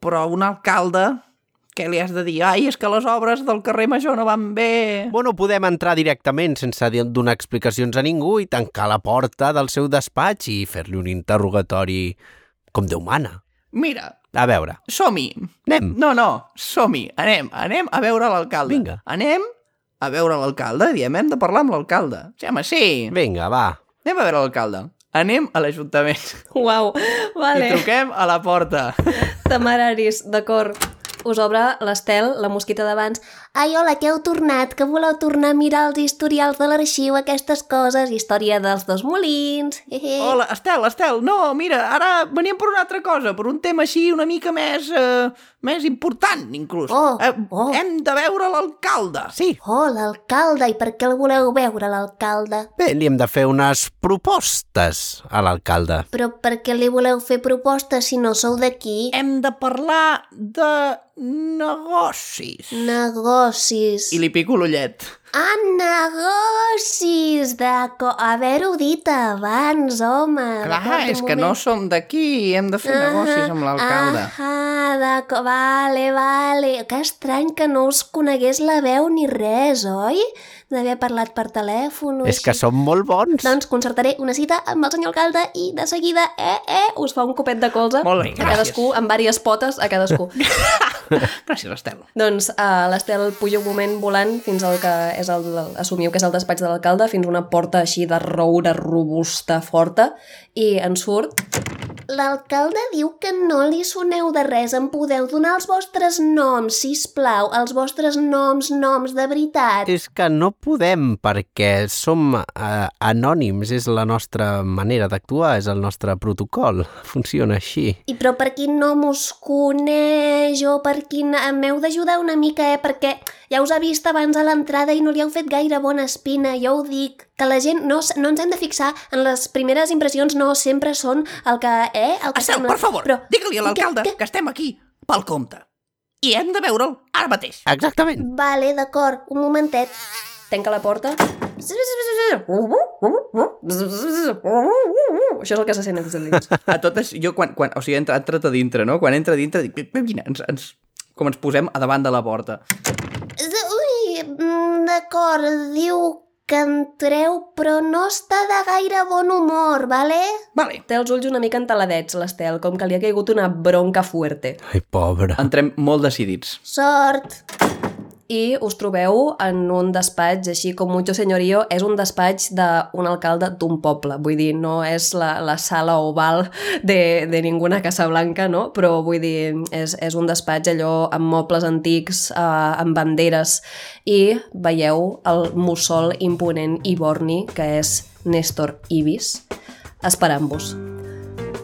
J: però a un alcalde què li has de dir? Ai, és que les obres del carrer Major no van bé.
D: Bueno, podem entrar directament sense dir- donar explicacions a ningú i tancar la porta del seu despatx i fer-li un interrogatori com Déu mana.
J: Mira,
D: A veure,
J: som-hi.
D: anem.
J: No, no, som-hi. Anem, anem a veure l'alcalde.
D: Vinga.
J: Anem a veure l'alcalde. Diem, hem de parlar amb l'alcalde. Sí, home, sí.
D: Vinga, va.
J: Anem a veure l'alcalde. Anem a l'Ajuntament.
A: Uau,
J: I
A: vale,
J: truquem a la porta.
A: temeraris, d'acord. Us obre l'Estel, la mosquita d'abans.
K: Ai, hola, que heu tornat? Que voleu tornar a mirar els historials de l'arxiu, aquestes coses, història dels dos molins... Hehe.
J: Hola, Estel, Estel, no, mira, ara veníem per una altra cosa, per un tema així una mica més, eh, més important, inclús.
K: Oh,
J: eh,
K: oh.
J: Hem de veure l'alcalde.
D: Sí,
K: Oh, l'alcalde, i per què el voleu veure, l'alcalde?
D: bé, li hem de fer unes propostes a l'alcalde.
K: Però per què li voleu fer propostes si no sou d'aquí?
J: Hem de parlar de negocis.
K: Negocis.
J: I li pico l'ullet.
K: Ah, negocis! D'acord. Haver-ho dit abans, home.
J: Clar, és que no som d'aquí, hem de fer
K: Eh,
J: negocis amb l'alcalde.
K: Ah, d'acord. Vale, vale. Que estrany que no us conegués la veu ni res, oi? D'haver parlat per telèfon o
D: És que
K: així.
D: som molt bons.
K: Doncs concertaré una cita amb el senyor alcalde i de seguida, eh, eh,
A: Us fa un copet de colze
J: Molt bé,
A: a cadascú, amb diverses potes a cadascú.
J: Gràcies, Estel.
A: Doncs uh, l'Estel puja un moment volant fins al que és el, assumiu que és el despatx de l'alcalde, fins a una porta així de roure robusta, forta, i en surt
K: L'alcalde diu que no li soneu de res, em podeu donar els vostres noms, si plau, els vostres noms, noms de veritat.
D: És que no podem perquè som eh, anònims, és la nostra manera d'actuar, és el nostre protocol, funciona així.
K: I però per quin nom us coneix o per quin... M'heu d'ajudar una mica, eh? Perquè ja us ha vist abans a l'entrada i no li heu fet gaire bona espina, jo ho dic. Que la gent... No, s- no ens hem de fixar en les primeres impressions, no sempre són el que... Eh? El que
J: Estel,
K: sembla.
J: per favor,
K: Però-
J: digue-li a l'alcalde
K: Que-
J: que estem aquí pel compte. I hem de veure'l ara mateix.
D: Exactament.
K: Vale, d'acord, un momentet.
A: Tanca la porta. Això és el que se sent des de dins.
J: a tot això, jo quan, quan, o sigui, entra, entra't a dintre, no? Quan entra a dintre, dic, vine, ens, ens, com ens posem a davant de la porta.
K: Ui, mm, d'acord, diu que entreu, però no està de gaire bon humor, vale?
J: Vale.
A: Té els ulls una mica entaladets, l'Estel, com que li ha caigut una bronca fuerte.
D: Ai, pobre.
J: Entrem molt decidits.
K: Sort.
A: i us trobeu en un despatx, així com Mucho Senyorio, és un despatx d'un alcalde d'un poble, vull dir, no és la, la sala oval de, de ninguna Casa Blanca, no? però vull dir, és, és un despatx allò amb mobles antics, eh, amb banderes, i veieu el mussol imponent i borni, que és Néstor Ibis, esperant-vos.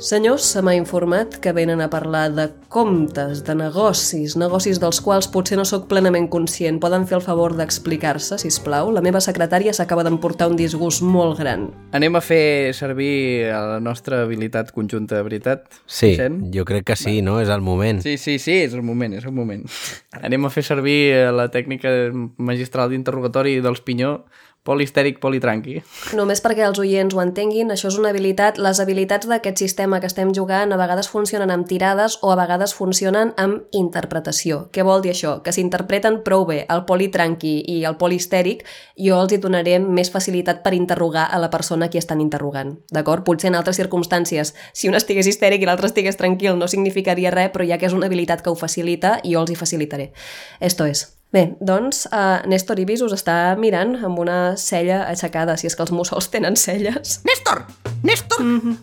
A: Senyors, se m'ha informat que venen a parlar de comptes, de negocis, negocis dels quals potser no sóc plenament conscient. Poden fer el favor d'explicar-se, si plau. La meva secretària s'acaba d'emportar un disgust molt gran.
C: Anem a fer servir la nostra habilitat conjunta, de veritat?
D: Sí,
C: Sent?
D: jo crec que sí, no? És el moment.
C: Sí, sí, sí, és el moment, és el moment. Anem a fer servir eh, la tècnica magistral d'interrogatori dels Pinyó, polistèric, politranqui.
A: Només perquè els oients ho entenguin, això és una habilitat. Les habilitats d'aquest sistema que estem jugant a vegades funcionen amb tirades o a vegades funcionen amb interpretació. Què vol dir això? Que s'interpreten prou bé el politranqui i el polistèric, jo els hi donaré més facilitat per interrogar a la persona a qui estan interrogant. D'acord? Potser en altres circumstàncies, si un estigués histèric i l'altre estigués tranquil, no significaria res, però ja que és una habilitat que ho facilita, jo els hi facilitaré. Esto es. Bé, doncs, uh, Néstor Ibis us està mirant amb una cella aixecada, si és que els mussols tenen celles.
J: Néstor! Néstor! Mm -hmm.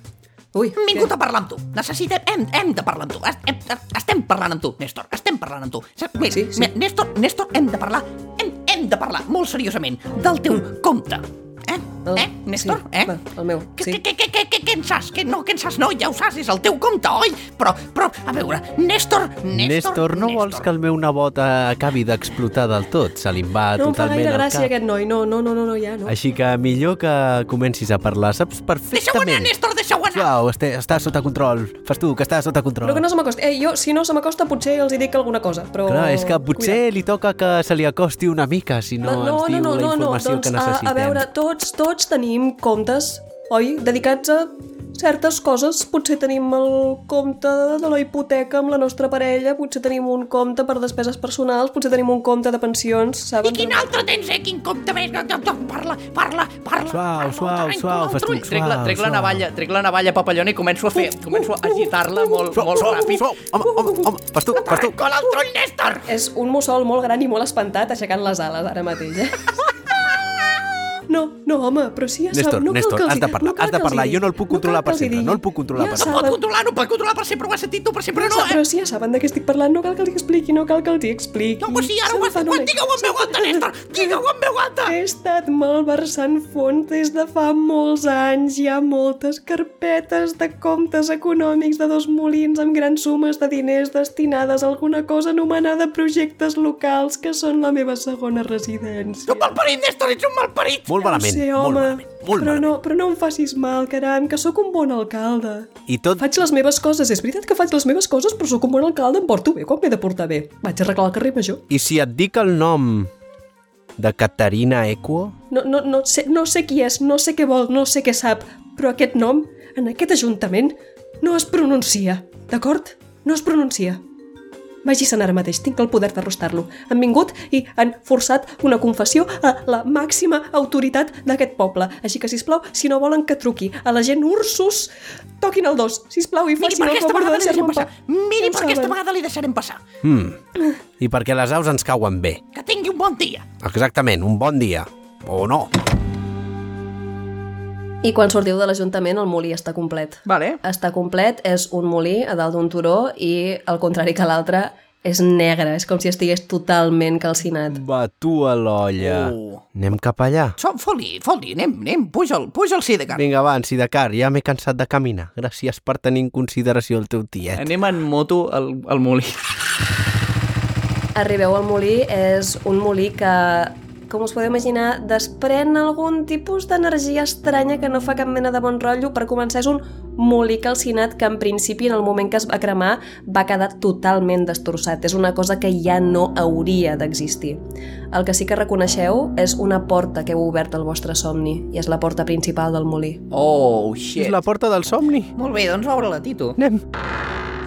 A: Ui,
J: Hem vingut a parlar amb tu. Necessitem... Hem, hem de parlar amb tu. Est- Hem, estem parlant amb tu, Néstor. Estem parlant amb tu. Saps? Mira,
A: Sí,
J: sí,
A: sí.
J: sí. Néstor, Néstor, hem de parlar... Hem, hem de parlar, molt seriosament, del teu compte. Eh?
A: El-
J: Eh, Néstor?
A: sí,
J: eh?
A: va, el meu,
J: Què,
A: sí.
J: què, què, què, què, què, què en saps? Que no, que en saps? No, ja ho saps, és el teu compte, oi? Però, però, a veure, Néstor... Néstor,
D: Néstor, no vols que el meu nebot eh, acabi d'explotar del tot? Se li va
A: no em fa
D: totalment
A: gaire
D: al
A: gràcia
D: cap.
A: aquest noi, no, no, no, no, no ja, no.
D: Així que millor que comencis a parlar. Saps
J: Deixa-ho anar,
D: perfectament.
J: Néstor, deixa-ho anar!
D: Sisplau, este, està sota control. Fas tu, que està sota control.
A: Però que no se m'acosti. Eh, jo, si no se m'acosta, potser els hi dic alguna cosa, però...
D: Clar, és que potser li toca que se li acosti una mica, si no,
A: Va,
D: ens diu la informació
A: doncs,
D: que
A: A,
D: necessitem.
A: a veure, tots, tots tenim comptes, oi? Dedicats a certes coses. Potser tenim el compte de la hipoteca amb la nostra parella, potser tenim un compte per despeses personals, potser tenim un compte de pensions,
J: I
A: saben?
J: quin altre tens, eh? Quin compte més? No, no, no, Parla, parla, parla.
D: Suau,
J: parla,
D: suau,
J: arrenca
D: suau,
J: l'altre
D: festuc,
J: ull.
C: Trec la,
D: Suau,
C: Ah, trec la
D: suau.
C: navalla, trec la navalla papallona i començo a fer, començo a agitar-la molt,
D: Suau,
C: molt
D: suau,
C: ràpid.
D: suau. Home, home, home, fas tu, fas tu.
J: Arrenca l'altre ull, Néstor!
A: És un mussol molt gran i molt espantat aixecant les ales ara mateix, eh? No, no, home, però sí, ja
D: Néstor,
A: sap, no
D: Néstor,
A: cal que els hi-
D: has de parlar,
A: no cal
D: has de
A: que els hi
D: parlar, jo no el
A: digui,
D: puc
A: cal
D: controlar
A: que
D: per
A: els hi
D: sempre,
A: digui.
D: no el puc controlar
A: ja
D: per
J: No
A: saben,
J: pot controlar, no pot controlar per sempre, ho has sentit tu per sempre, no,
A: Però,
J: eh?
A: però si ja saben de què estic parlant, no cal que els expliqui, no cal que els hi expliqui.
J: No, pues sí, ara ho has
A: Se'n fan
J: dit,
A: una-
J: digue-ho amb veu alta, Néstor! Digue-ho amb veu alta!
A: He estat malversant fons des de fa molts anys. Hi ha moltes carpetes de comptes econòmics de dos molins amb grans sumes de diners destinades a alguna cosa anomenada projectes locals que són la meva segona residència.
J: Tu malparit, Néstor, ets un malparit!
D: Molt malament,
A: no sé,
D: molt
A: home,
D: malament, molt
A: però,
D: malament.
A: no, però no em facis mal, caram, que sóc un bon alcalde.
D: I tot...
A: Faig les meves coses, és veritat que faig les meves coses, però sóc un bon alcalde, em porto bé quan m'he de portar bé. Vaig arreglar el carrer major.
D: I si et dic el nom de Caterina Equo?
A: No, no, no, sé, no sé qui és, no sé què vol, no sé què sap, però aquest nom, en aquest ajuntament, no es pronuncia, d'acord? No es pronuncia. Vagi-se'n ara mateix, tinc el poder d'arrostar-lo. Han vingut i han forçat una confessió a la màxima autoritat d'aquest poble. Així que, si plau, si no volen que truqui a la gent Ursus, toquin el dos, si plau, i
J: Miri
A: facin
J: per
A: el
J: aquesta
A: favor de
J: vegada li
A: deixar-me
J: deixarem
A: en
J: passar.
A: pau.
J: Miri
A: Ja ho
J: per aquesta
A: saben.
J: vegada li deixarem passar.
D: Mm. I perquè les aus ens cauen bé.
J: Que tingui un bon dia.
D: Exactament, un bon dia. O no.
A: I quan sortiu de l'Ajuntament, el molí està complet.
C: Vale.
A: Està complet, és un molí a dalt d'un turó i, al contrari que l'altre, és negre. És com si estigués totalment calcinat.
D: Va tu a l'olla.
J: Oh.
D: Anem cap allà.
J: Som, foli, foli, anem, anem, puja'l, puja'l, sí, de cara.
D: Vinga, abans, i de car, ja m'he cansat de caminar. Gràcies per tenir en consideració el teu tiet.
C: Anem en moto al, al molí.
A: Arribeu al molí, és un molí que com us podeu imaginar, desprèn algun tipus d'energia estranya que no fa cap mena de bon rotllo. Per començar, és un molí calcinat que, en principi, en el moment que es va cremar, va quedar totalment destrossat. És una cosa que ja no hauria d'existir. El que sí que reconeixeu és una porta que heu obert al vostre somni, i és la porta principal del molí.
C: Oh,
D: És
C: shit.
D: la porta del somni.
C: Molt bé, doncs obre-la, Tito.
D: Anem.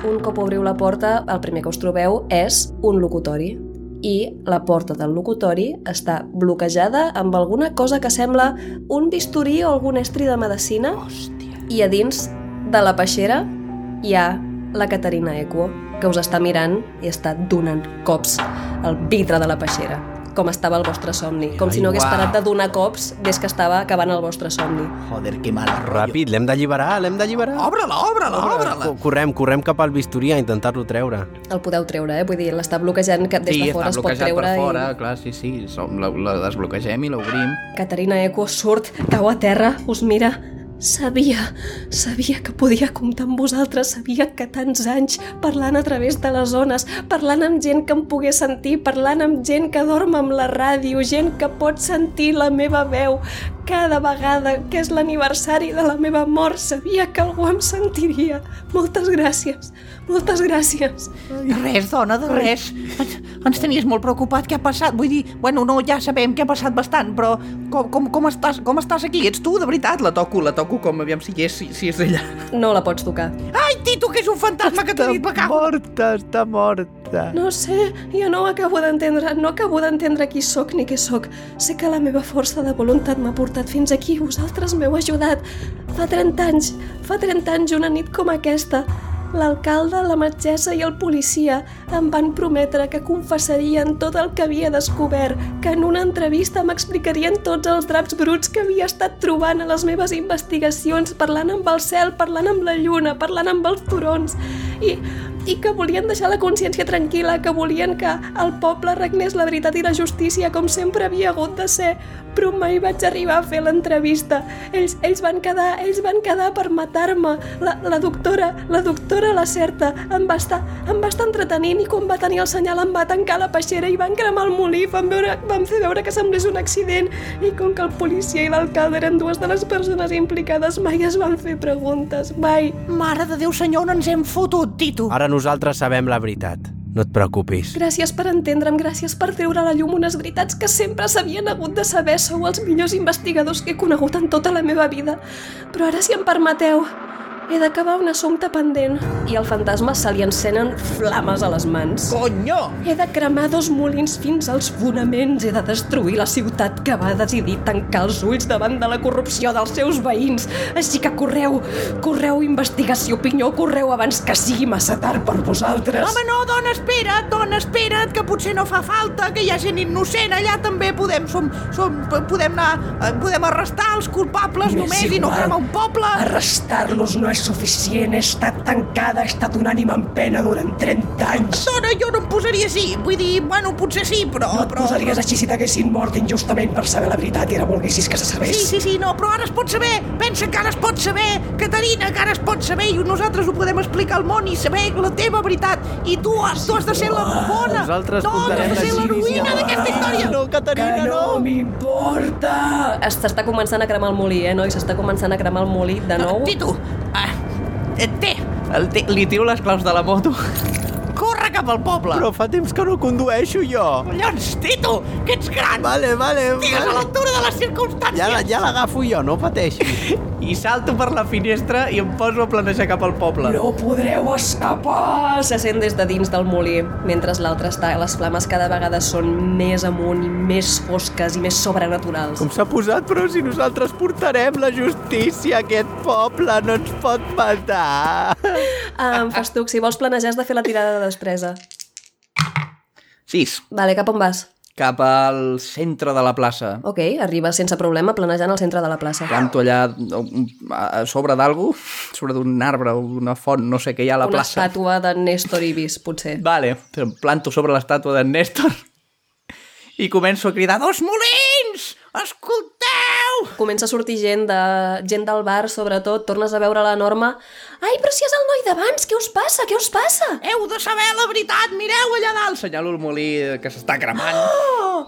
A: Un cop obriu la porta, el primer que us trobeu és un locutori i la porta del locutori està bloquejada amb alguna cosa que sembla un bisturí o algun estri de medicina Hòstia. i a dins de la peixera hi ha la Caterina Equo, que us està mirant i està donant cops al vidre de la peixera, com estava el vostre somni, com si no hagués
C: uau.
A: parat de donar cops des que estava acabant el vostre somni.
L: Joder, que mala ràpid.
D: Ràpid, l'hem d'alliberar, l'hem d'alliberar.
J: Obre-la, obre-la, Oh, obre-la.
D: Co- Correm, correm cap al bisturí a intentar-lo treure.
A: El podeu treure, eh? Vull dir, l'està bloquejant que des
C: sí,
A: de fora es
C: està
A: pot
C: bloquejat
A: treure
C: per fora,
A: i
C: clar, sí, sí. Som, la, la desbloquegem i l'obrim.
A: Caterina Eco surt, cau a terra, us mira... Sabia, sabia que podia comptar amb vosaltres, sabia que tants anys parlant a través de les zones, parlant amb gent que em pogués sentir, parlant amb gent que dorm amb la ràdio, gent que pot sentir la meva veu cada vegada que és l'aniversari de la meva mort, sabia que algú em sentiria. Moltes gràcies, moltes gràcies.
J: De res, dona, de res. Ens, ens tenies molt preocupat, què ha passat? Vull dir, bueno, no, ja sabem que ha passat bastant, però com, com, com, estàs, com estàs aquí? Ets tu, de veritat?
C: La toco, la toco com aviam si hi és, si, si és ella.
A: No la pots tocar.
J: Ai, Tito, que és un fantasma que t'ha dit, me cago.
D: morta, està morta.
A: No sé, jo no ho acabo d'entendre, no acabo d'entendre qui sóc ni què sóc. Sé que la meva força de voluntat m'ha portat fins aquí, vosaltres m'heu ajudat. Fa 30 anys, fa 30 anys una nit com aquesta, l'alcalde, la metgessa i el policia em van prometre que confessarien tot el que havia descobert, que en una entrevista m'explicarien tots els draps bruts que havia estat trobant a les meves investigacions, parlant amb el cel, parlant amb la lluna, parlant amb els turons. I, i que volien deixar la consciència tranquil·la, que volien que el poble regnés la veritat i la justícia com sempre havia hagut de ser, però mai vaig arribar a fer l'entrevista. Ells, ells van quedar, ells van quedar per matar-me. La, la doctora, la doctora la certa, em va, estar, em va estar entretenint i quan va tenir el senyal em va tancar la peixera i van cremar el molí, van, veure, van fer veure que semblés un accident i com que el policia i l'alcalde eren dues de les persones implicades mai es van fer preguntes, mai.
J: Mare de Déu, senyor, on ens hem fotut, Tito.
D: Ara nosaltres sabem la veritat. No et preocupis.
A: Gràcies per entendre'm, gràcies per treure a la llum unes veritats que sempre s'havien hagut de saber. Sou els millors investigadors que he conegut en tota la meva vida. Però ara, si em permeteu, he d'acabar un assumpte pendent. I al fantasma se li encenen flames a les mans.
C: Conyo!
A: He de cremar dos molins fins als fonaments. He de destruir la ciutat que va decidir tancar els ulls davant de la corrupció dels seus veïns. Així que correu, correu, investigació pinyó, correu abans que sigui massa tard per vosaltres.
J: Home, no, dona, espera't, dona, espera't, que potser no fa falta, que hi ha gent innocent allà també, podem, som, som, p- podem, anar, eh, podem arrestar els culpables
M: M'és
J: només i no
M: igual.
J: cremar un poble.
M: Arrestar-los no és suficient. He estat tancada, he estat una ànima en pena durant 30 anys.
J: Dona, jo no em posaria així, vull dir, bueno, potser sí, però...
M: No et
J: però,
M: posaries així si t'haguessin mort injustament per saber la veritat i ara volguessis que se sabés.
J: Sí, sí, sí, no, però ara es pot saber, pensa que ara es pot saber, Caterina, que ara es pot saber i nosaltres ho podem explicar al món i saber la teva veritat. I tu, has, tu has de ser la bona,
D: Nosaltres
J: no, tu has
D: contarem
J: de ser
D: la
J: l'heroïna
D: història.
C: Ah,
J: d'aquesta història. No,
M: Que no, m'importa!
A: Es- S'està començant a cremar el molí, eh, noi? S'està començant a cremar el molí de nou.
J: Tito, ah, eh, té,
C: El té- li tiro les claus de la moto.
J: corre cap al poble.
D: Però fa temps que no condueixo jo.
J: Collons, Tito, que ets gran!
D: Vale, vale.
J: Estigues a
D: vale.
J: l'altura de les
D: Ja,
J: circumstàncies!
D: la- ja l'agafo jo, no pateixis.
C: I salto per la finestra i em poso a planejar cap al poble.
M: No podreu escapar!
A: Se sent des de dins del molí, mentre l'altre està... Les flames cada vegada són més amunt i més fosques i més sobrenaturals.
D: s'ha posat, però si nosaltres portarem la justícia a aquest poble, no ens pot matar.
A: Ah, em fas tu, si vols planejar has de fer la tirada de despresa.
C: Sis.
A: Vale, cap on vas?
C: Cap al centre de la plaça.
A: Ok, arribes sense problema planejant al centre de la plaça.
C: Planto allà a- a sobre d'algú, sobre d'un arbre o d'una font, no sé què hi ha a la
A: Una
C: plaça.
A: estàtua de Néstor Ibis, potser.
C: Vale, em planto sobre l'estàtua d'en Néstor i començo a cridar dos molins! Escolteu!
A: Comença a sortir gent, de, gent del bar, sobretot, tornes a veure la Norma. Ai, però si és el noi d'abans, què us passa? Què us passa?
C: Heu de saber la veritat, mireu allà dalt! Senyalo el molí que s'està cremant.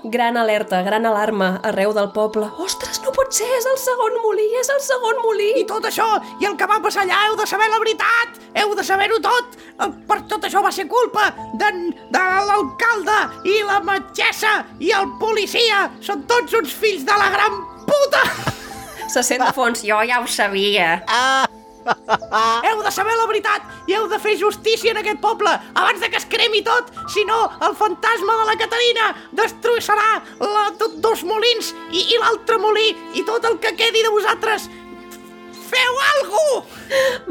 A: Gran alerta, gran alarma arreu del poble. Ostres, no pot ser, és el segon molí, és el segon
J: I
A: molí.
J: tot això, i el que va passar allà, heu de saber la veritat! Heu de saber-ho tot! El- Per tot això va ser culpa de, de l'alcalde i la metgessa i el policia! Són tots uns fills de la gran puta!
A: Se sent de fons, jo ja ho sabia.
J: Heu de saber la veritat i heu de fer justícia en aquest poble abans de que es cremi tot, si no el fantasma de la Caterina destrossarà la, tot, dos molins i, i l'altre molí i tot el que quedi de vosaltres.
N: Feu alguna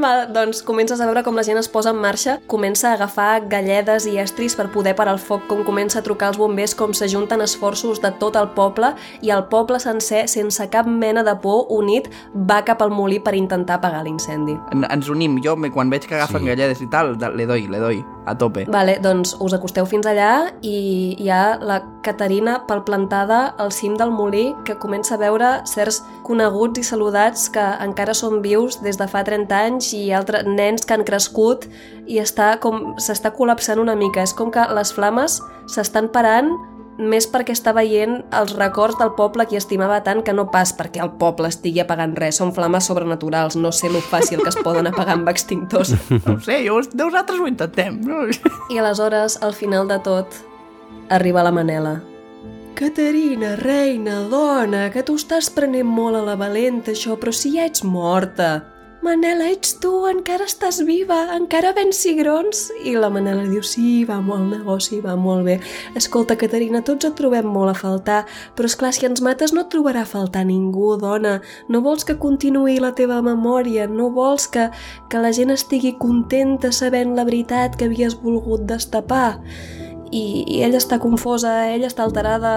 A: Va, doncs comences a veure com la gent es posa en marxa, comença a agafar galledes i estris per poder parar el foc, com comença a trucar els bombers, com s'ajunten esforços de tot el poble i el poble sencer, sense cap mena de por, unit, va cap al molí per intentar apagar l'incendi.
J: En, ens unim. Jo, me- quan veig que agafen
D: Sí.
J: sí. galledes i tal, de- le doy, le doy, a tope.
A: Vale, doncs us acosteu fins allà i hi ha la Caterina palplantada al cim del molí que comença a veure certs coneguts i saludats que encara són vius des de fa 30 anys i altres nens que han crescut i està com s'està col·lapsant una mica. És com que les flames s'estan parant més perquè està veient els records del poble que estimava tant que no pas perquè el poble estigui apagant res. Són flames sobrenaturals, no sé lo fàcil que es poden apagar amb extintors.
J: No ho sé, jo, nosaltres ho intentem. No?
A: I aleshores, al final de tot, arriba la Manela. Caterina, reina, dona, que tu estàs prenent molt a la valenta això, però si ja ets morta. Manela, ets tu, encara estàs viva, encara vens cigrons. I la Manela diu, sí, va molt el negoci, va molt bé. Escolta, Caterina, tots et trobem molt a faltar, però és clar si ens mates no et trobarà a faltar ningú, dona. No vols que continuï la teva memòria, no vols que, que la gent estigui contenta sabent la veritat que havies volgut destapar i, i ella està confosa, ella està alterada,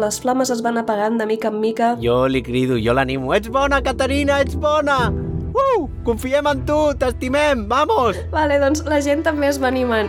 A: les flames es van apagant de mica en mica.
D: Jo li crido, jo l'animo. Ets bona, Caterina, ets bona! Uh, confiem en tu, t'estimem, vamos!
A: Vale, doncs la gent també es va animant.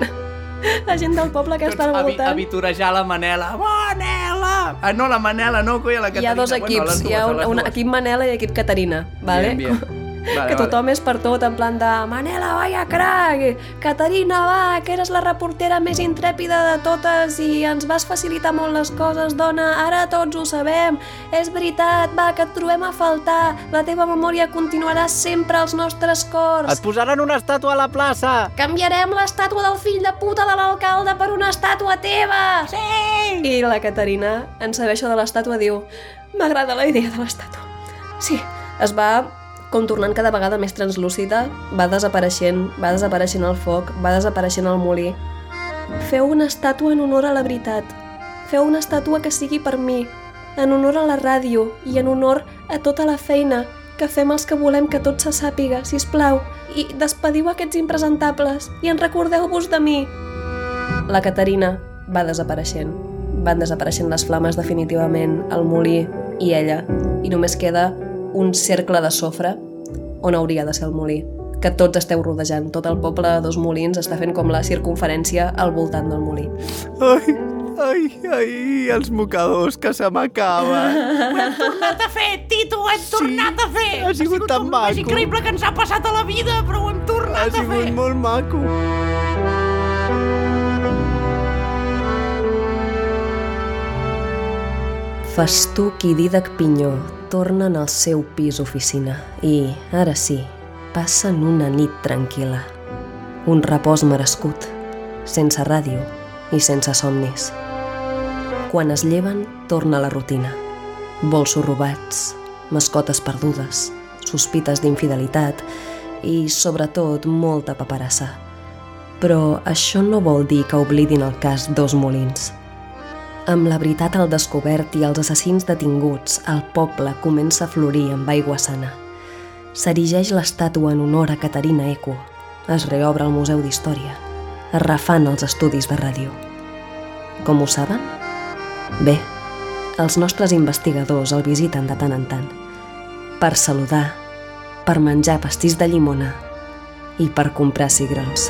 A: La gent del poble que està al voltant.
J: Aviturejar Doncs la Manela. Manela! Ah, no, la Manela, no, coi, la
A: Hi
J: Caterina.
A: ha dos
J: Bueno,
A: equips,
J: les dues,
A: hi ha un,
J: les
A: un
J: dues.
A: equip Manela i equip Caterina, vale?
J: Bien, bien. Vale,
A: que tothom és per tot, en plan de Manela, vaya crac! Caterina, va, que eres la reportera més intrèpida de totes i ens vas facilitar molt les coses, dona, ara tots ho sabem, és veritat, va, que et trobem a faltar, la teva memòria continuarà sempre als nostres cors.
D: Et posaran una estàtua a la plaça!
A: Canviarem l'estàtua del fill de puta de l'alcalde per una estàtua teva! Sí! I la Caterina, en saber això de l'estàtua, diu M'agrada la idea de l'estàtua. Sí, es va com tornant cada vegada més translúcida, va desapareixent, va desapareixent el foc, va desapareixent el molí. Feu una estàtua en honor a la veritat. Feu una estàtua que sigui per mi, en honor a la ràdio i en honor a tota la feina que fem els que volem que tot se sàpiga, si us plau, i despediu aquests impresentables i en recordeu-vos de mi. La Caterina va desapareixent. Van desapareixent les flames definitivament, el molí i ella, i només queda un cercle de sofre on hauria de ser el molí que tots esteu rodejant, tot el poble de dos molins està fent com la circunferència al voltant del molí.
J: Ai, ai, ai, els mocadors que se m'acaben.
N: tornat a fer, Tito, ho hem tornat a fer!
D: ha sigut tan
N: el més
D: maco.
N: increïble que ens ha passat a la vida, però ho hem tornat a fer!
D: molt maco.
A: Festuc i Didac Pinyó tornen al seu pis oficina i, ara sí, passen una nit tranquil·la. Un repòs merescut, sense ràdio i sense somnis. Quan es lleven, torna la rutina. Bolsos robats, mascotes perdudes, sospites d'infidelitat i, sobretot, molta paperassa. Però això no vol dir que oblidin el cas Dos Molins – amb la veritat al descobert i els assassins detinguts, el poble comença a florir amb aigua sana. S'erigeix l'estàtua en honor a Caterina Eco. Es reobre el Museu d'Història. Es refan els estudis de ràdio. Com ho saben? Bé, els nostres investigadors el visiten de tant en tant. Per saludar, per menjar pastís de llimona i per comprar cigrons.